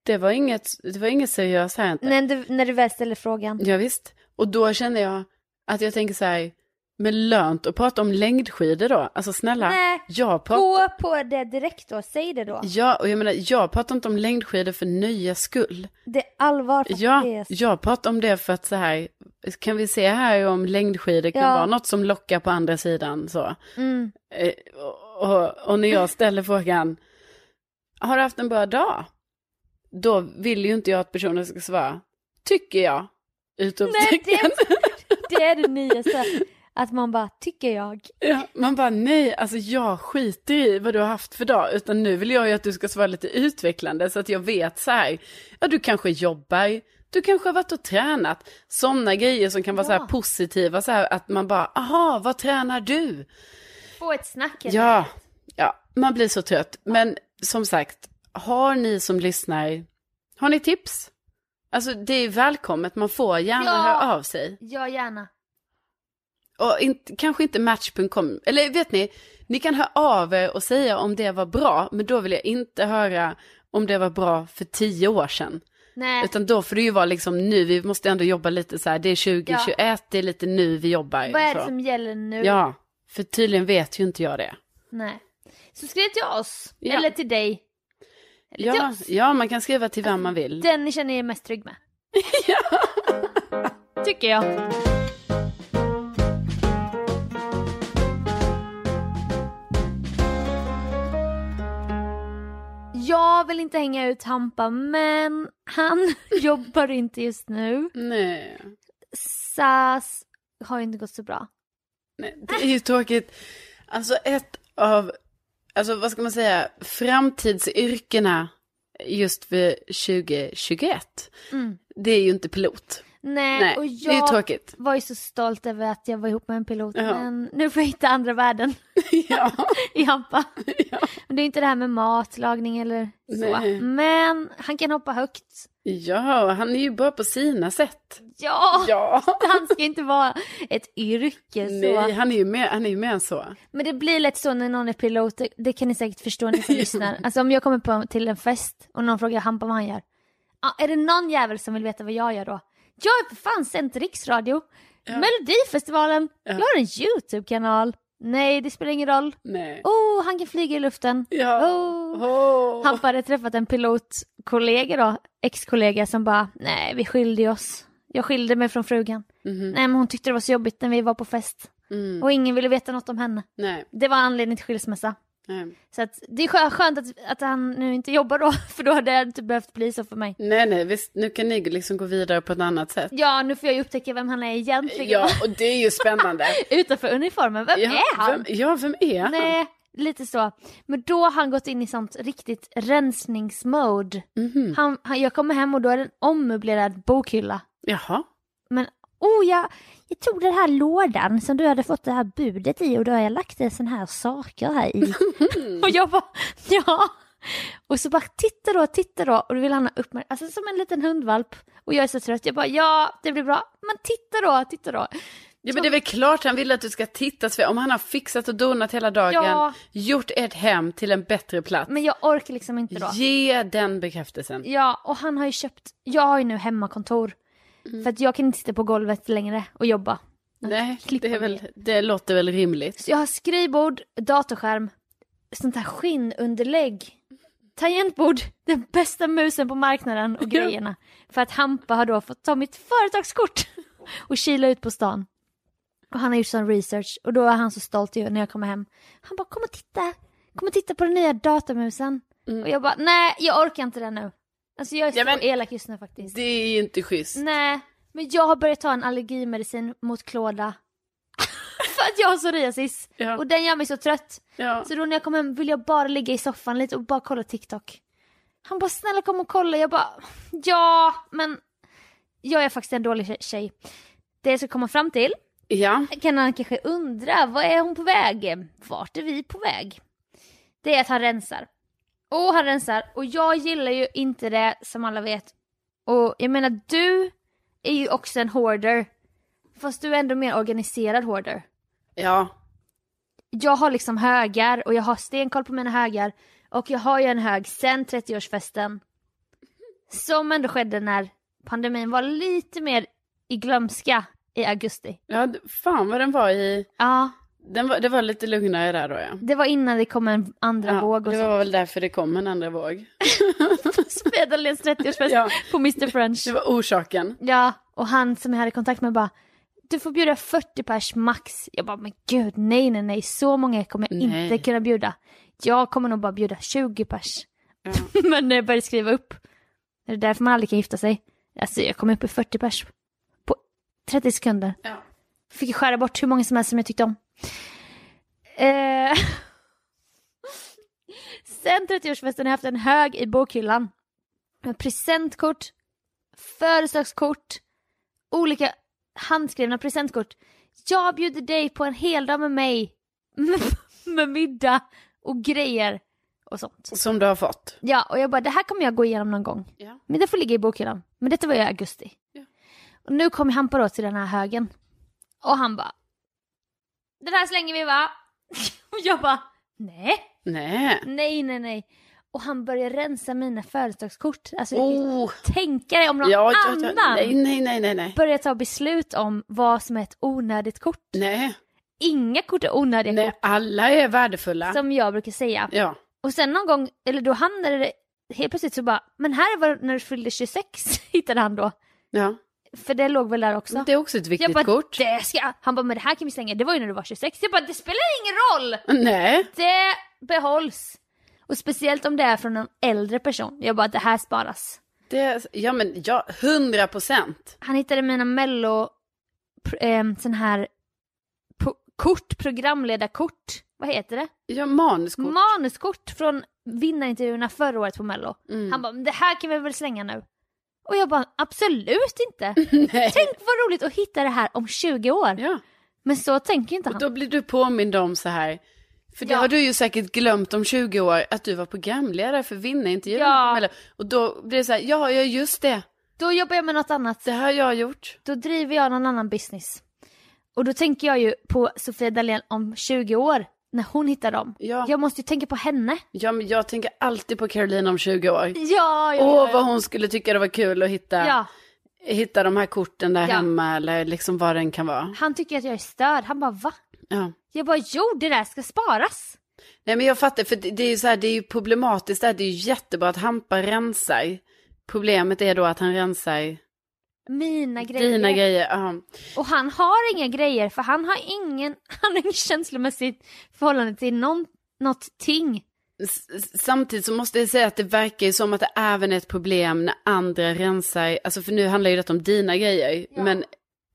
Speaker 2: det var inget, det var inget seriöst här inte.
Speaker 1: När du, när du väl ställer frågan.
Speaker 2: Ja, visst. Och då känner jag att jag tänker så här, med lönt att prata om längdskidor då? Alltså snälla,
Speaker 1: Nej,
Speaker 2: jag pratar...
Speaker 1: Gå på det direkt då, säg det då.
Speaker 2: Ja, och jag menar, jag pratar inte om längdskidor för nöjes skull.
Speaker 1: Det är allvar faktiskt.
Speaker 2: Ja, jag pratar om det för att så här, kan vi se här om längdskidor kan
Speaker 1: Ja.
Speaker 2: vara något som lockar på andra sidan så.
Speaker 1: Mm.
Speaker 2: Eh, och- Och, och när jag ställer frågan, har du haft en bra dag? Då vill ju inte jag att personen ska svara, tycker jag,
Speaker 1: Nej, det,
Speaker 2: utropstecken.
Speaker 1: är, det är det nyaste. Att man bara, tycker jag.
Speaker 2: Ja, man bara nej, alltså jag skiter i vad du har haft för dag, utan nu vill jag ju att du ska svara lite utvecklande så att jag vet så här, ja du kanske jobbar, du kanske har varit och tränat, sådana grejer som kan vara så här positiva, så här att man bara, aha, vad tränar du?
Speaker 1: Få ett snack. helt
Speaker 2: Ja, ja, man blir så trött, men som sagt, har ni som lyssnar, har ni tips? Alltså det är välkommet, man får gärna
Speaker 1: Ja.
Speaker 2: höra av sig.
Speaker 1: enkelt. Ja, gärna.
Speaker 2: Och inte, kanske inte match.com, eller vet ni, ni kan höra av er och säga om det var bra, men då vill jag inte höra om det var bra för tio år sedan.
Speaker 1: Nej.
Speaker 2: Utan då får det ju vara liksom nu, vi måste ändå jobba lite så här, det är 2021, det är lite nu vi jobbar.
Speaker 1: Vad är
Speaker 2: så.
Speaker 1: det som gäller nu?
Speaker 2: Ja, för tydligen vet ju inte jag det.
Speaker 1: Nej. Så skriv till oss,
Speaker 2: Ja.
Speaker 1: eller till dig. Eller till
Speaker 2: Ja,
Speaker 1: oss.
Speaker 2: ja, man kan skriva till vem man vill.
Speaker 1: Den ni känner er mest trygg med. Tycker jag. Jag vill inte hänga ut Hampa, men han jobbar inte just nu.
Speaker 2: Nej,
Speaker 1: SAS har ju inte gått så bra.
Speaker 2: nej, det är ju tråkigt. Alltså ett av, alltså vad ska man säga, framtidsyrkena just för 2021.
Speaker 1: Mm.
Speaker 2: det är ju inte pilot.
Speaker 1: Nej,
Speaker 2: Nej,
Speaker 1: och
Speaker 2: det är ju
Speaker 1: jag
Speaker 2: tråkigt.
Speaker 1: var ju så stolt över att jag var ihop med en pilot,
Speaker 2: Ja.
Speaker 1: men nu får jag hitta andra värden.
Speaker 2: ja.
Speaker 1: i Hampa.
Speaker 2: Ja.
Speaker 1: Men Det är inte det här med matlagning eller så.
Speaker 2: Nej.
Speaker 1: Men han kan hoppa högt.
Speaker 2: ja, och han är ju bra på sina sätt.
Speaker 1: Ja!
Speaker 2: Ja.
Speaker 1: Han ska inte vara ett yrke
Speaker 2: Nej,
Speaker 1: Ah, så.
Speaker 2: han är ju mer, han är ju mer än så.
Speaker 1: Men det blir lätt så när någon är pilot, det, det kan ni säkert förstå ni som lyssnar. Alltså om jag kommer på, till en fest och någon frågar Hampa vad han gör. Ja, är det någon jävel som vill veta vad jag gör då? Jag är för fan sänt riksradio, Melodifestivalen, jag har en YouTube-kanal. Nej, det spelar ingen roll.
Speaker 2: Nej.
Speaker 1: Oh, han kan flyga i luften.
Speaker 2: Ja.
Speaker 1: Oh.
Speaker 2: Åh.
Speaker 1: Hampa hade träffat en pilotkollega då, ex-kollega som bara, nej vi skilde oss. Jag skilde mig från frugan. Nej men hon tyckte det var så jobbigt när vi var på fest.
Speaker 2: Mhm. Mm.
Speaker 1: Och ingen ville veta något om henne.
Speaker 2: Nej.
Speaker 1: Det var anledningen till skilsmässa.
Speaker 2: Nej.
Speaker 1: Så att, det är skö- skönt att, att han nu inte jobbar då, för då hade det inte behövt bli så för mig.
Speaker 2: nej, nej, visst, nu kan ni liksom gå vidare på ett annat sätt.
Speaker 1: Ja, nu får jag ju upptäcka vem han är egentligen.
Speaker 2: Ja, och det är ju spännande.
Speaker 1: Utanför uniformen, vem
Speaker 2: Ja,
Speaker 1: är han?
Speaker 2: Vem, ja, vem är han?
Speaker 1: Nej, lite så. Men då har han gått in i sånt riktigt rensningsmode. Han, han, jag kommer hem och då är det en ommöblerad bokhylla.
Speaker 2: Jaha.
Speaker 1: Men oh, jag, jag tog den här lådan som du hade fått det här budet i och då har jag lagt en sån här saker här i. och jag bara, ja. Och så bara titta då, titta då och då vill han ha uppmärksamhet, alltså som en liten hundvalp. Och jag är så trött, jag bara ja, det blir bra, men titta då, titta då.
Speaker 2: Ja, men det är väl klart han vill att du ska titta, Sven. om han har fixat och donat hela dagen,
Speaker 1: Ja.
Speaker 2: gjort ert hem till en bättre plats.
Speaker 1: Men jag orkar liksom inte då.
Speaker 2: Ge den bekräftelsen.
Speaker 1: Ja, och han har ju köpt, jag har ju nu hemmakontor.
Speaker 2: Mm.
Speaker 1: För att jag kan inte sitta på golvet längre och jobba.
Speaker 2: Nej,
Speaker 1: klippa
Speaker 2: det, är väl,
Speaker 1: ner.
Speaker 2: det låter väl rimligt.
Speaker 1: Så jag har skrivbord, datorskärm, sånt här skinnunderlägg, tangentbord, den bästa musen på marknaden och grejerna. För att Hampa har då fått ta mitt företagskort och kila ut på stan. Och han har gjort sån research och då är han så stolt ju när jag kommer hem. Han bara kom och titta, kom och titta på den nya datamusen. Och jag bara nej, jag orkar inte det nu. Alltså jag är så
Speaker 2: Mm. Ja, men-
Speaker 1: elak just nu faktiskt.
Speaker 2: Det är ju inte schysst.
Speaker 1: Nej, men jag har börjat ta en allergimedicin mot klåda. För att jag har psoriasis.
Speaker 2: Ja.
Speaker 1: Och den gör mig så trött.
Speaker 2: Ja.
Speaker 1: Så då när jag kom hem ville jag bara ligga i soffan lite och bara kolla TikTok. Han bara snälla kom och kolla. Jag bara ja, men jag är faktiskt en dålig tje- tjej. Det jag ska komma fram till
Speaker 2: ja.
Speaker 1: kan han kanske undra, vad är hon på väg? Vart är vi på väg? Det är att han rensar. Och han rensar, och jag gillar ju inte det som alla vet. Och jag menar, du är ju också en hoarder. Fast du är ändå mer organiserad hoarder.
Speaker 2: Ja.
Speaker 1: Jag har liksom högar och jag har stenkoll på mina högar. Och jag har ju en hög sen 30-årsfesten. Som ändå skedde när pandemin var lite mer i glömska. i augusti.
Speaker 2: Ja, d- fan vad den var i...
Speaker 1: Ja,
Speaker 2: Den var, det var lite lugnare där då ja.
Speaker 1: det var innan det kom en andra
Speaker 2: ja
Speaker 1: våg och
Speaker 2: det
Speaker 1: så.
Speaker 2: var väl därför det kom en andra våg.
Speaker 1: Sofia Dahléns 30-årsfest
Speaker 2: Ja.
Speaker 1: på Mr French.
Speaker 2: Det var orsaken.
Speaker 1: Ja, och han som jag hade kontakt med bara du får bjuda 40 pers max. Jag bara, men gud, nej, nej, nej, så många kommer jag
Speaker 2: Nej.
Speaker 1: inte kunna bjuda. Jag kommer nog bara bjuda 20 pers. men när jag började skriva upp, är det därför man aldrig kan gifta sig? Alltså jag kom upp i 40 pers på 30 sekunder.
Speaker 2: Ja.
Speaker 1: Fick skära bort hur många som helst som jag tyckte om. Eh... Sen 30-årsfesten har jag haft en hög i bokhyllan. Med presentkort, födelsedagskort, olika handskrivna presentkort. Jag bjuder dig på en hel dag med mig. med middag och grejer och sånt.
Speaker 2: Som du har fått.
Speaker 1: Ja, och jag bara, det här kommer jag gå igenom någon gång.
Speaker 2: Ja.
Speaker 1: Men det får ligga i bokhyllan. Men detta var ju i augusti.
Speaker 2: Ja.
Speaker 1: Och nu kommer Hampa då till den här högen. Och han bara, den här slänger vi va? och jag bara, nej,
Speaker 2: Nej.
Speaker 1: nej, nej, nej. Och han börjar rensa mina födelsedagskort. Alltså,
Speaker 2: Oh.
Speaker 1: tänka dig om någon
Speaker 2: Ja, ja,
Speaker 1: annan
Speaker 2: ja. Nej, nej, nej, nej, nej.
Speaker 1: börjar ta beslut om vad som är ett onödigt kort.
Speaker 2: Nej,
Speaker 1: Inga kort är onödiga
Speaker 2: nej,
Speaker 1: kort,
Speaker 2: alla är värdefulla.
Speaker 1: som jag brukar säga.
Speaker 2: Ja.
Speaker 1: Och sen någon gång, eller då hamnade det helt plötsligt så bara, men här var när du fyllde 26 hittade han då.
Speaker 2: ja.
Speaker 1: För det låg väl där också.
Speaker 2: Det är också ett
Speaker 1: jag
Speaker 2: viktigt
Speaker 1: bara,
Speaker 2: kort.
Speaker 1: det ska jag. Han bara, men det här kan vi slänga, det var ju när du var 26. Jag bara, det spelar ingen roll!
Speaker 2: Nej.
Speaker 1: Det behålls. Och speciellt om det är från en äldre person. Jag bara, det här sparas.
Speaker 2: Det, ja men ja, hundra procent.
Speaker 1: Han hittade mina mello, pr- ehm, sån här, po- kort, programledarkort. Vad heter det?
Speaker 2: Ja, manuskort.
Speaker 1: manuskort från vinnarintervjuerna förra året på mello. Han bara, "Men det här kan vi väl slänga nu? Och jag bara, absolut inte!
Speaker 2: nej.
Speaker 1: Tänk vad roligt att hitta det här om 20 år!
Speaker 2: Ja.
Speaker 1: Men så tänker inte
Speaker 2: Och
Speaker 1: han.
Speaker 2: då blir du påmind om så här. För det
Speaker 1: Ja.
Speaker 2: har du ju säkert glömt om 20 år, att du var programledare för vinnarintervjun.
Speaker 1: Ja.
Speaker 2: Eller- Och då blir det så här, ja, ja just det.
Speaker 1: Då jobbar jag med något annat.
Speaker 2: Det har jag gjort.
Speaker 1: Då driver jag någon annan business. Och då tänker jag ju på Sofia Dalén om 20 år, när hon hittar dem.
Speaker 2: Ja.
Speaker 1: Jag måste ju tänka på henne.
Speaker 2: Ja, men jag tänker alltid på Caroline om 20 år.
Speaker 1: Ja, ja, ja,
Speaker 2: Åh, vad hon skulle tycka det var kul att hitta,
Speaker 1: ja.
Speaker 2: hitta de här korten där
Speaker 1: Ja.
Speaker 2: hemma eller liksom vad den kan vara.
Speaker 1: Han tycker att jag är störd. Han bara, va?
Speaker 2: Ja.
Speaker 1: Jag bara, jo det där ska sparas.
Speaker 2: Nej men jag fattar, för det det är ju så här, det är ju problematiskt där, det är ju jättebra att Hampa rensar. Problemet är då att han rensar
Speaker 1: Mina grejer.
Speaker 2: dina grejer. Ja.
Speaker 1: Och han har inga grejer för han har ingen, han har ingen känslomässigt förhållande till någon, någonting.
Speaker 2: S- s- Samtidigt så måste jag säga att det verkar ju som att det även är ett problem när andra rensar, alltså för nu handlar ju detta om dina grejer, men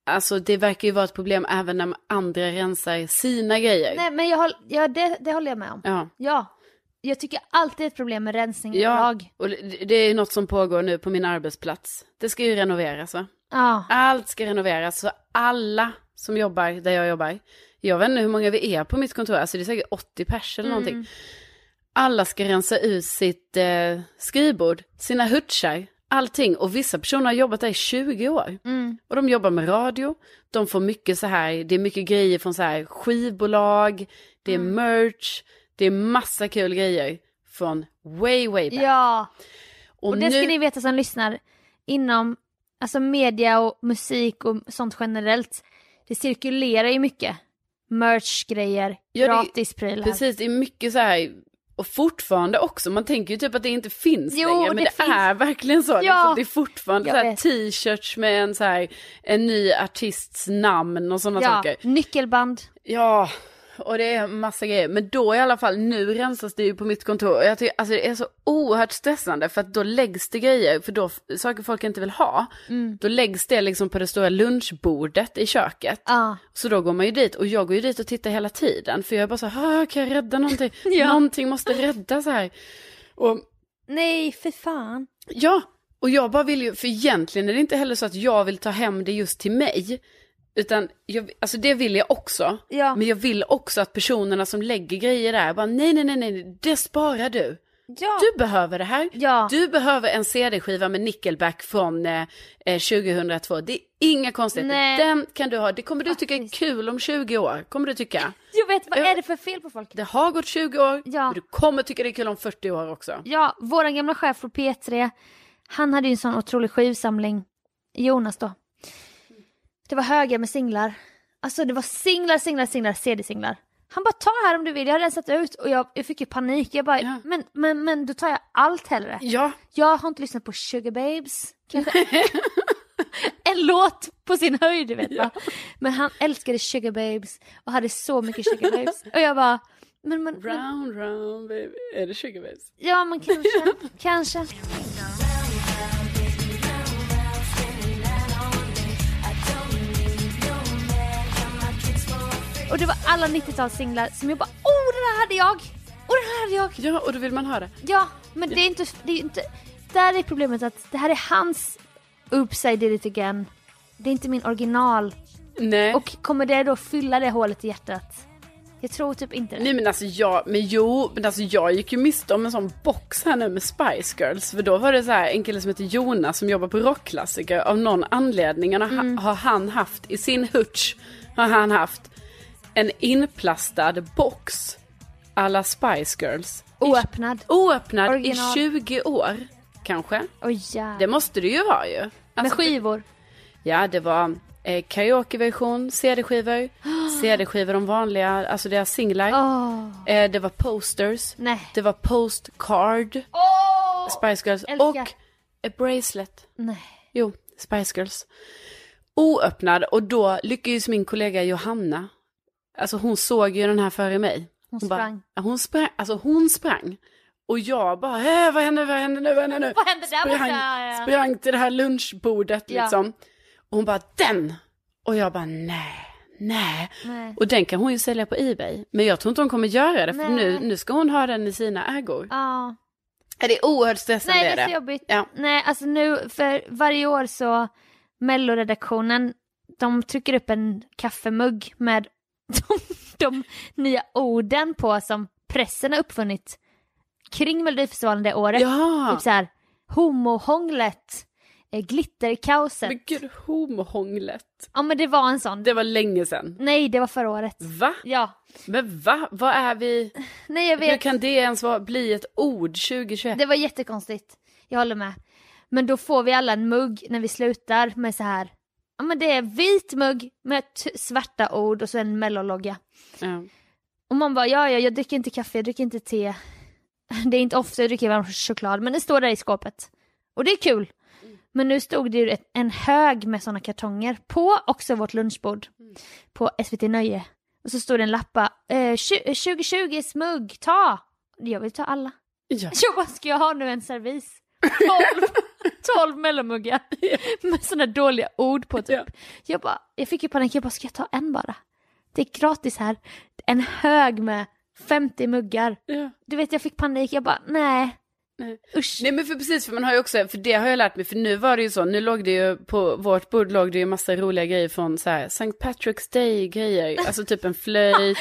Speaker 2: alltså det verkar ju vara ett problem även när andra rensar sina grejer.
Speaker 1: Nej men jag, håll- ja, det, det håller jag med om. Ja.
Speaker 2: Ja.
Speaker 1: Jag tycker alltid ett problem med rensning av
Speaker 2: Ja,
Speaker 1: lag.
Speaker 2: och det det är ju något som pågår nu på min arbetsplats. Det ska ju renoveras va?
Speaker 1: Ja.
Speaker 2: Allt ska renoveras, så alla som jobbar där jag jobbar, jag vet inte hur många vi är på mitt kontor, alltså det är säkert 80 pers eller
Speaker 1: Mm.
Speaker 2: någonting. Alla ska rensa ut sitt eh, skrivbord, sina hutschar, allting. Och vissa personer har jobbat där i 20 år.
Speaker 1: Mm.
Speaker 2: Och de jobbar med radio, de får mycket så här, det är mycket grejer från så här skivbolag, det är
Speaker 1: Mm.
Speaker 2: merch, det är massa kul grejer från way, way back.
Speaker 1: Ja.
Speaker 2: och
Speaker 1: Och det ska ni veta som lyssnar, inom alltså media och musik och sånt generellt, det cirkulerar ju mycket. Merch-grejer,
Speaker 2: Ja, det-
Speaker 1: gratisprylar.
Speaker 2: Precis, det är mycket så här, och fortfarande också, man tänker ju typ att det inte finns
Speaker 1: Jo,
Speaker 2: längre,
Speaker 1: det
Speaker 2: men det,
Speaker 1: finns.
Speaker 2: är verkligen så. Liksom, det är fortfarande
Speaker 1: jag
Speaker 2: så här
Speaker 1: vet.
Speaker 2: t-shirts med en, så här, en ny artists namn och sådana
Speaker 1: Ja,
Speaker 2: saker.
Speaker 1: nyckelband.
Speaker 2: Ja, och det är massa grejer. Men då i alla fall, nu rensas det ju på mitt kontor. Och Jag tycker, alltså det är så oerhört stressande för att då läggs det grejer, för då f- saker folk inte vill ha,
Speaker 1: Mm.
Speaker 2: då läggs det liksom på det stora lunchbordet i köket.
Speaker 1: Ja.
Speaker 2: Så då går man ju dit och jag går ju dit och tittar hela tiden för jag är bara så här, "Ah, kan jag rädda någonting?
Speaker 1: Ja.
Speaker 2: Någonting måste räddas här. Och
Speaker 1: Nej, för fan.
Speaker 2: Ja, och jag bara vill ju, för egentligen är det inte heller så att jag vill ta hem det just till mig. Utan, jag, alltså det vill jag också.
Speaker 1: Ja.
Speaker 2: Men jag vill också att personerna som lägger grejer där, bara nej, nej, nej, nej, det sparar du.
Speaker 1: Ja.
Speaker 2: Du behöver det här.
Speaker 1: Ja.
Speaker 2: Du behöver en CD-skiva med Nickelback från eh, eh, 2002. Det är inga konstigheter.
Speaker 1: Nej.
Speaker 2: Den kan du ha. Det kommer du tycka är
Speaker 1: Faktiskt.
Speaker 2: kul om 20 år. Kommer du tycka.
Speaker 1: Jag vet, vad
Speaker 2: Ja.
Speaker 1: är det för fel på folk?
Speaker 2: Det har gått 20 år.
Speaker 1: Ja.
Speaker 2: Men du kommer tycka det är kul om 40 år också.
Speaker 1: Ja, våran gamla chef från P3, han hade ju en sån otrolig skivsamling, Jonas då. Det var högar med singlar. Alltså det var singlar, singlar, singlar, CD-singlar. Han bara ta här om du vill, jag har rensat ut och jag, jag fick ju panik. Jag bara,
Speaker 2: Ja.
Speaker 1: men, men, men då tar jag allt hellre.
Speaker 2: Ja,
Speaker 1: Jag har inte lyssnat på Sugar Babes, kanske. en låt på sin höjd, du vet va? Men han älskade Sugar Babes och hade så mycket Sugar Babes. Och jag bara, men, men, men
Speaker 2: round round baby. Är det Sugar Babes?
Speaker 1: ja men kanske, kanske. Och det var alla 90-talssinglar som jag bara, oh den här hade jag! Och den här hade jag!
Speaker 2: Ja, och då vill man ha det.
Speaker 1: Ja, men det är inte... Det är inte där är problemet att det här är hans Oops I did it again. Det är inte min original.
Speaker 2: Nej.
Speaker 1: Och kommer det då fylla det hålet i hjärtat? Jag tror typ inte det.
Speaker 2: Nej men alltså jag, men jo, men alltså jag gick ju miste om en sån box här nu med Spice Girls. För då var det så här en kille som heter Jonas som jobbar på rockklassiker. Av någon anledning har,
Speaker 1: Mm.
Speaker 2: har han haft, i sin hutch har han haft en inplastad box alla Spice Girls.
Speaker 1: Oöppnad.
Speaker 2: Oöppnad
Speaker 1: Original.
Speaker 2: i 20 år kanske.
Speaker 1: Oj ja.
Speaker 2: Det måste det ju vara ju.
Speaker 1: Med
Speaker 2: Alltså,
Speaker 1: skivor.
Speaker 2: Ja, det var eh, karaokeversion, CD-skivor, CD-skivor de vanliga, alltså deras singlar.
Speaker 1: Åh.
Speaker 2: Eh, det var posters,
Speaker 1: Nej.
Speaker 2: det var postcard,
Speaker 1: Åh!
Speaker 2: Spice Girls
Speaker 1: Älskar.
Speaker 2: och ett bracelet.
Speaker 1: Nej.
Speaker 2: Jo, Spice Girls. Oöppnad och då lyckades min kollega Johanna, alltså hon såg ju den här före mig.
Speaker 1: Hon
Speaker 2: Bara,
Speaker 1: sprang.
Speaker 2: ja, hon sprang. Alltså hon sprang. Och jag bara, "Eh, vad händer, vad händer nu, vad händer nu?
Speaker 1: Vad händer där borta?
Speaker 2: sprang,
Speaker 1: Ja, ja.
Speaker 2: sprang till det här lunchbordet
Speaker 1: Ja.
Speaker 2: liksom. Och hon bara, den! Och jag bara, nej, nej.
Speaker 1: Nej.
Speaker 2: Och den kan hon ju sälja på Ebay. Men jag tror inte hon kommer göra det, för
Speaker 1: Nej.
Speaker 2: nu, nu ska hon ha den i sina ägor.
Speaker 1: Ja.
Speaker 2: Ja. Det är oerhört stressande.
Speaker 1: Nej det är så jobbigt.
Speaker 2: Ja.
Speaker 1: Nej alltså nu för varje år så melloredaktionen de trycker upp en kaffemugg med de, de nya orden på som pressen har uppfunnit kring Melodifestivalen det året.
Speaker 2: Ja,
Speaker 1: Typ såhär homohånglet, eh, glitterkaoset.
Speaker 2: men gud, homohånglet.
Speaker 1: Ja men det var en sån.
Speaker 2: Det var länge sedan.
Speaker 1: Nej det var förra året.
Speaker 2: Va?
Speaker 1: Ja.
Speaker 2: Men va? Vad är vi?
Speaker 1: Nej jag vet.
Speaker 2: Hur kan det ens vara, bli ett ord 2021?
Speaker 1: Det var jättekonstigt. Jag håller med. Men då får vi alla en mugg när vi slutar med så här. Ja men det är vit mugg med t- svarta ord och så en mellologga.
Speaker 2: Ja.
Speaker 1: Och man bara ja ja jag dricker inte kaffe, jag dricker inte te. Det är inte ofta jag dricker varm choklad men det står där i skåpet. Och det är kul. Men nu stod det ju ett- en hög med sådana kartonger på också vårt lunchbord. På SVT Nöje. Och så stod det en lappa. Eh, 2020 smugg, ta! Jag vill ta alla.
Speaker 2: Ja.
Speaker 1: Jag bara, ska jag ha nu en servis? 12, 12 mellomuggar med sådana dåliga ord på typ.
Speaker 2: Ja.
Speaker 1: Jag, bara, jag fick ju panik, jag bara, ska jag ta en bara? Det är gratis här. En hög med 50 muggar.
Speaker 2: Ja.
Speaker 1: Du vet, jag fick panik, jag bara, nej.
Speaker 2: Nej.
Speaker 1: Usch.
Speaker 2: Nej men för precis, för man har ju också, för det har jag lärt mig, för nu var det ju så, nu låg det ju, på vårt bord låg det ju massa roliga grejer från så här, St. Patrick's Day-grejer, alltså typ en flöjt,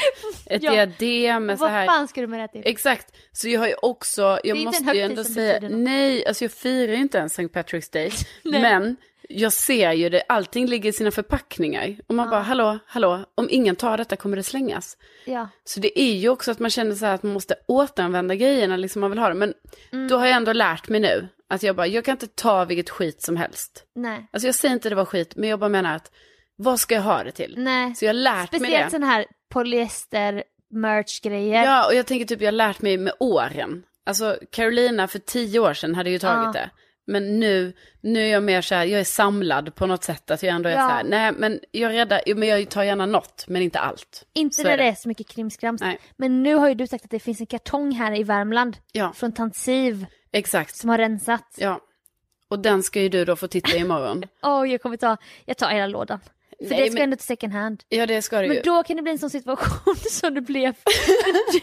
Speaker 2: ett
Speaker 1: Ja.
Speaker 2: diadem med så
Speaker 1: Vad
Speaker 2: här.
Speaker 1: fan ska du med det till?
Speaker 2: Exakt, så jag har ju också, jag
Speaker 1: inte en
Speaker 2: måste ju
Speaker 1: högtid
Speaker 2: ändå
Speaker 1: som
Speaker 2: säga,
Speaker 1: betyder något.
Speaker 2: nej, alltså jag firar ju inte ens St. Patrick's Day,
Speaker 1: Nej.
Speaker 2: men jag ser ju det, allting ligger i sina förpackningar. Och man bara, hallå, hallå, om ingen tar detta kommer det slängas.
Speaker 1: Ja.
Speaker 2: Så det är ju också att man känner så här att man måste återanvända grejerna liksom man vill ha dem. Men
Speaker 1: Mm.
Speaker 2: då har jag ändå lärt mig nu att jag bara, jag kan inte ta vilket skit som helst.
Speaker 1: Nej.
Speaker 2: Alltså jag säger inte det var skit, men jag bara menar att vad ska jag ha det till?
Speaker 1: Nej.
Speaker 2: Så jag har lärt mig det.
Speaker 1: Speciellt sådana här polyester merch-grejer.
Speaker 2: Ja, och jag tänker typ jag har lärt mig med åren. Alltså Carolina för tio år sedan hade ju tagit
Speaker 1: Ja.
Speaker 2: det. Men nu, nu är jag mer så här, jag är samlad på något sätt. Att jag ändå är
Speaker 1: Ja.
Speaker 2: så här, nej men jag räddar, jo, men jag tar gärna något, men inte allt.
Speaker 1: Inte
Speaker 2: Så
Speaker 1: när
Speaker 2: är
Speaker 1: det.
Speaker 2: det.
Speaker 1: är så mycket krimskrams.
Speaker 2: Nej.
Speaker 1: Men nu har ju du sagt att det finns en kartong här i Värmland
Speaker 2: Ja.
Speaker 1: från Tansiv
Speaker 2: Exakt.
Speaker 1: som har rensats.
Speaker 2: Ja. Och den ska ju du då få titta i imorgon.
Speaker 1: Åh, jag kommer ta, jag tar hela lådan. För
Speaker 2: Nej,
Speaker 1: det ska
Speaker 2: men-
Speaker 1: ändå till second hand.
Speaker 2: Ja, det ska du ju.
Speaker 1: Men då kan det bli en sån situation som det blev.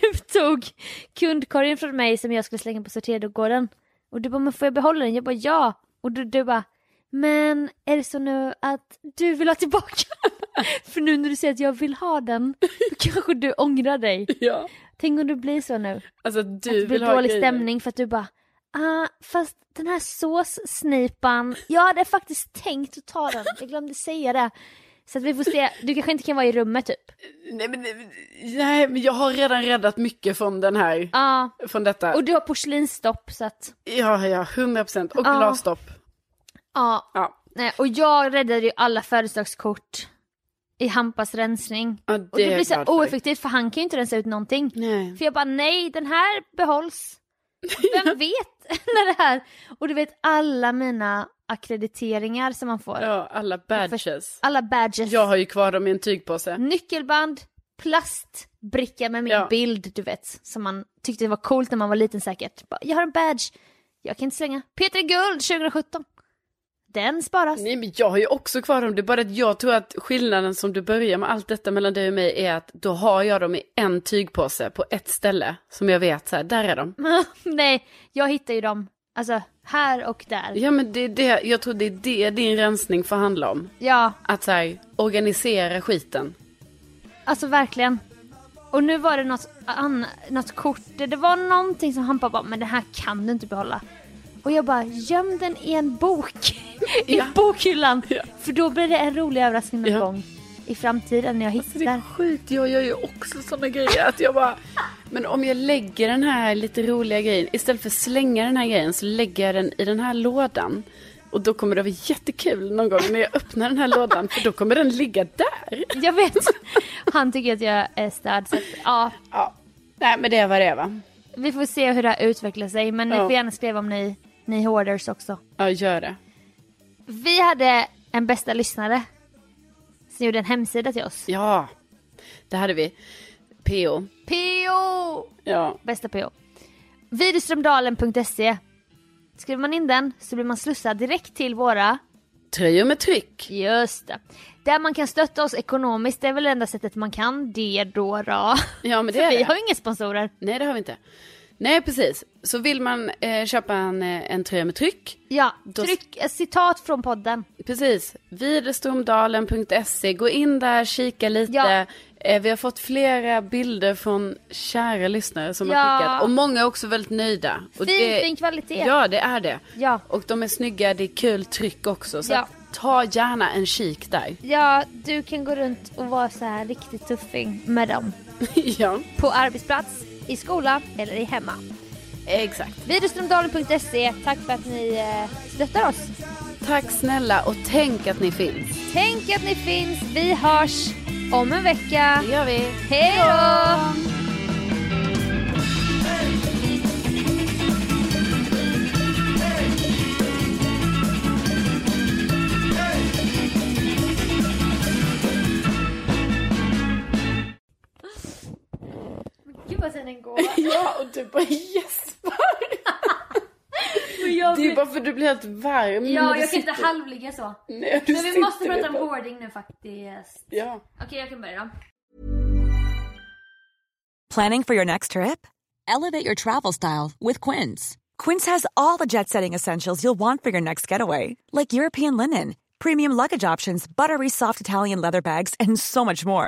Speaker 1: du tog kundkorgen från mig som jag skulle slänga på sortergården. Och du bara, men får jag behålla den? Jag bara, ja. Och du, du bara, men är det så nu att du vill ha tillbaka den? För nu när du säger att jag vill ha den, då kanske du ångrar dig.
Speaker 2: Ja.
Speaker 1: Tänk om det blir så nu.
Speaker 2: Alltså du
Speaker 1: att det
Speaker 2: vill
Speaker 1: blir
Speaker 2: ha
Speaker 1: dålig
Speaker 2: grejer.
Speaker 1: stämning för att du bara Ah, fast den här såssnipan, jag hade faktiskt tänkt att ta den, jag glömde säga det. Så att vi får se, du kanske inte kan vara i rummet typ. Ja,
Speaker 2: Nej men, nej, men- nej, men jag har redan räddat mycket från den här, från detta.
Speaker 1: och du har porslinsstopp så att,
Speaker 2: Ja, ja, 100 procent. Och
Speaker 1: Ja.
Speaker 2: glasstopp.
Speaker 1: ja.
Speaker 2: Ja.
Speaker 1: Nej, och jag räddade ju alla födelsedagskort i Hampas rensning.
Speaker 2: Ja, det
Speaker 1: och det
Speaker 2: är
Speaker 1: blir
Speaker 2: jag
Speaker 1: så
Speaker 2: glad
Speaker 1: här
Speaker 2: för.
Speaker 1: oeffektivt för han kan ju inte rensa ut någonting.
Speaker 2: Nej.
Speaker 1: För jag bara nej, den här behålls. Vem vet när det här... Och du vet alla mina akkrediteringar som man får.
Speaker 2: Ja, alla badges.
Speaker 1: Alla badges.
Speaker 2: Jag har ju kvar dem i en tygpåse.
Speaker 1: Nyckelband, plastbricka med min
Speaker 2: Ja.
Speaker 1: bild, du vet. Som man tyckte var coolt när man var liten säkert. Bara, jag har en badge. Jag kan inte slänga. Peter Guld 2017. Den sparas.
Speaker 2: Nej men jag har ju också kvar dem, det är bara att jag tror att skillnaden som du börjar med allt detta mellan dig och mig är att då har jag dem i en tygpåse på ett ställe som jag vet så här, där är de.
Speaker 1: Nej, jag hittar ju dem. Alltså, här och där.
Speaker 2: Ja men det, är det, jag tror det är det din rensning får handla om.
Speaker 1: Ja,
Speaker 2: Att så här, organisera skiten.
Speaker 1: alltså verkligen. Och nu var det något, an- något kort, det det var någonting som han bara, bara, men det här kan du inte behålla. Och jag bara, göm den i en bok. I
Speaker 2: Ja.
Speaker 1: bokhyllan.
Speaker 2: Ja.
Speaker 1: För då blir det en rolig överraskning någon
Speaker 2: Ja.
Speaker 1: gång i framtiden när jag
Speaker 2: Alltså det
Speaker 1: hittar.
Speaker 2: är sjukt, jag gör ju också sådana grejer att jag bara... Men om jag lägger den här lite roliga grejen, istället för att slänga den här grejen så lägger jag den i den här lådan. Och då kommer det vara jättekul någon gång när jag öppnar den här lådan för då kommer den ligga där.
Speaker 1: Jag vet. Han tycker att jag är störd. Så att, ja,
Speaker 2: Ja. Nej men det var det va?
Speaker 1: vi får se hur det här utvecklar sig. Men ni
Speaker 2: Ja.
Speaker 1: får gärna skriva om ni, ni hoarders också.
Speaker 2: Ja gör det.
Speaker 1: Vi hade en bästa lyssnare som gjorde en hemsida till oss.
Speaker 2: Ja. Det hade vi. PO.
Speaker 1: PO!
Speaker 2: Ja.
Speaker 1: Bästa PO. Widerströmdalen.se Skriver man in den så blir man slussad direkt till våra
Speaker 2: Tröjor med tryck.
Speaker 1: Just det. Där man kan stötta oss ekonomiskt, det är väl det enda sättet man kan det då. då.
Speaker 2: Ja men det
Speaker 1: För
Speaker 2: är
Speaker 1: vi
Speaker 2: det.
Speaker 1: har ju inga sponsorer.
Speaker 2: Nej det har vi inte. Nej precis. Så vill man eh, köpa en, eh, en tröja med tryck
Speaker 1: Ja,
Speaker 2: Då-
Speaker 1: tryck ett citat från podden.
Speaker 2: Precis, widerstromdalen.se, E. gå in där, kika lite.
Speaker 1: Ja.
Speaker 2: Eh, Vi har fått flera bilder från kära lyssnare som
Speaker 1: Ja.
Speaker 2: har skickat och många är också väldigt nöjda. Och
Speaker 1: Fin, fin kvalitet.
Speaker 2: Ja, det är det.
Speaker 1: Ja.
Speaker 2: Och de är snygga, det är kul tryck också. Så
Speaker 1: Ja.
Speaker 2: att ta gärna en kik där.
Speaker 1: Ja, du kan gå runt och vara så här riktigt tuffing med dem.
Speaker 2: ja,
Speaker 1: På arbetsplats, i skola eller i hemma.
Speaker 2: exakt.
Speaker 1: Widerströmdalen.se, tack för att ni eh, stöttar oss.
Speaker 2: Tack snälla och tänk att ni finns.
Speaker 1: Tänk att ni finns, vi hörs om en vecka.
Speaker 2: Det gör vi.
Speaker 1: Hej då! Gud vad tiden går.
Speaker 2: Ja, och du bara gäspar.
Speaker 1: Och jag
Speaker 2: Det är
Speaker 1: blir-
Speaker 2: bara för att du blir helt varm. när
Speaker 1: Ja,
Speaker 2: du
Speaker 1: jag kan inte
Speaker 2: sitter-
Speaker 1: halvligga så.
Speaker 2: Nej, du
Speaker 1: Men vi måste
Speaker 2: sitter
Speaker 1: prata om
Speaker 2: där.
Speaker 1: hoarding nu faktiskt.
Speaker 2: Ja.
Speaker 1: Okej, jag kan börja då.
Speaker 4: Planning for your next trip? Elevate your travel style with Quince. Quince has all the jet setting essentials you'll want for your next getaway, like European linen, premium luggage options, buttery soft Italian leather bags, and so much more.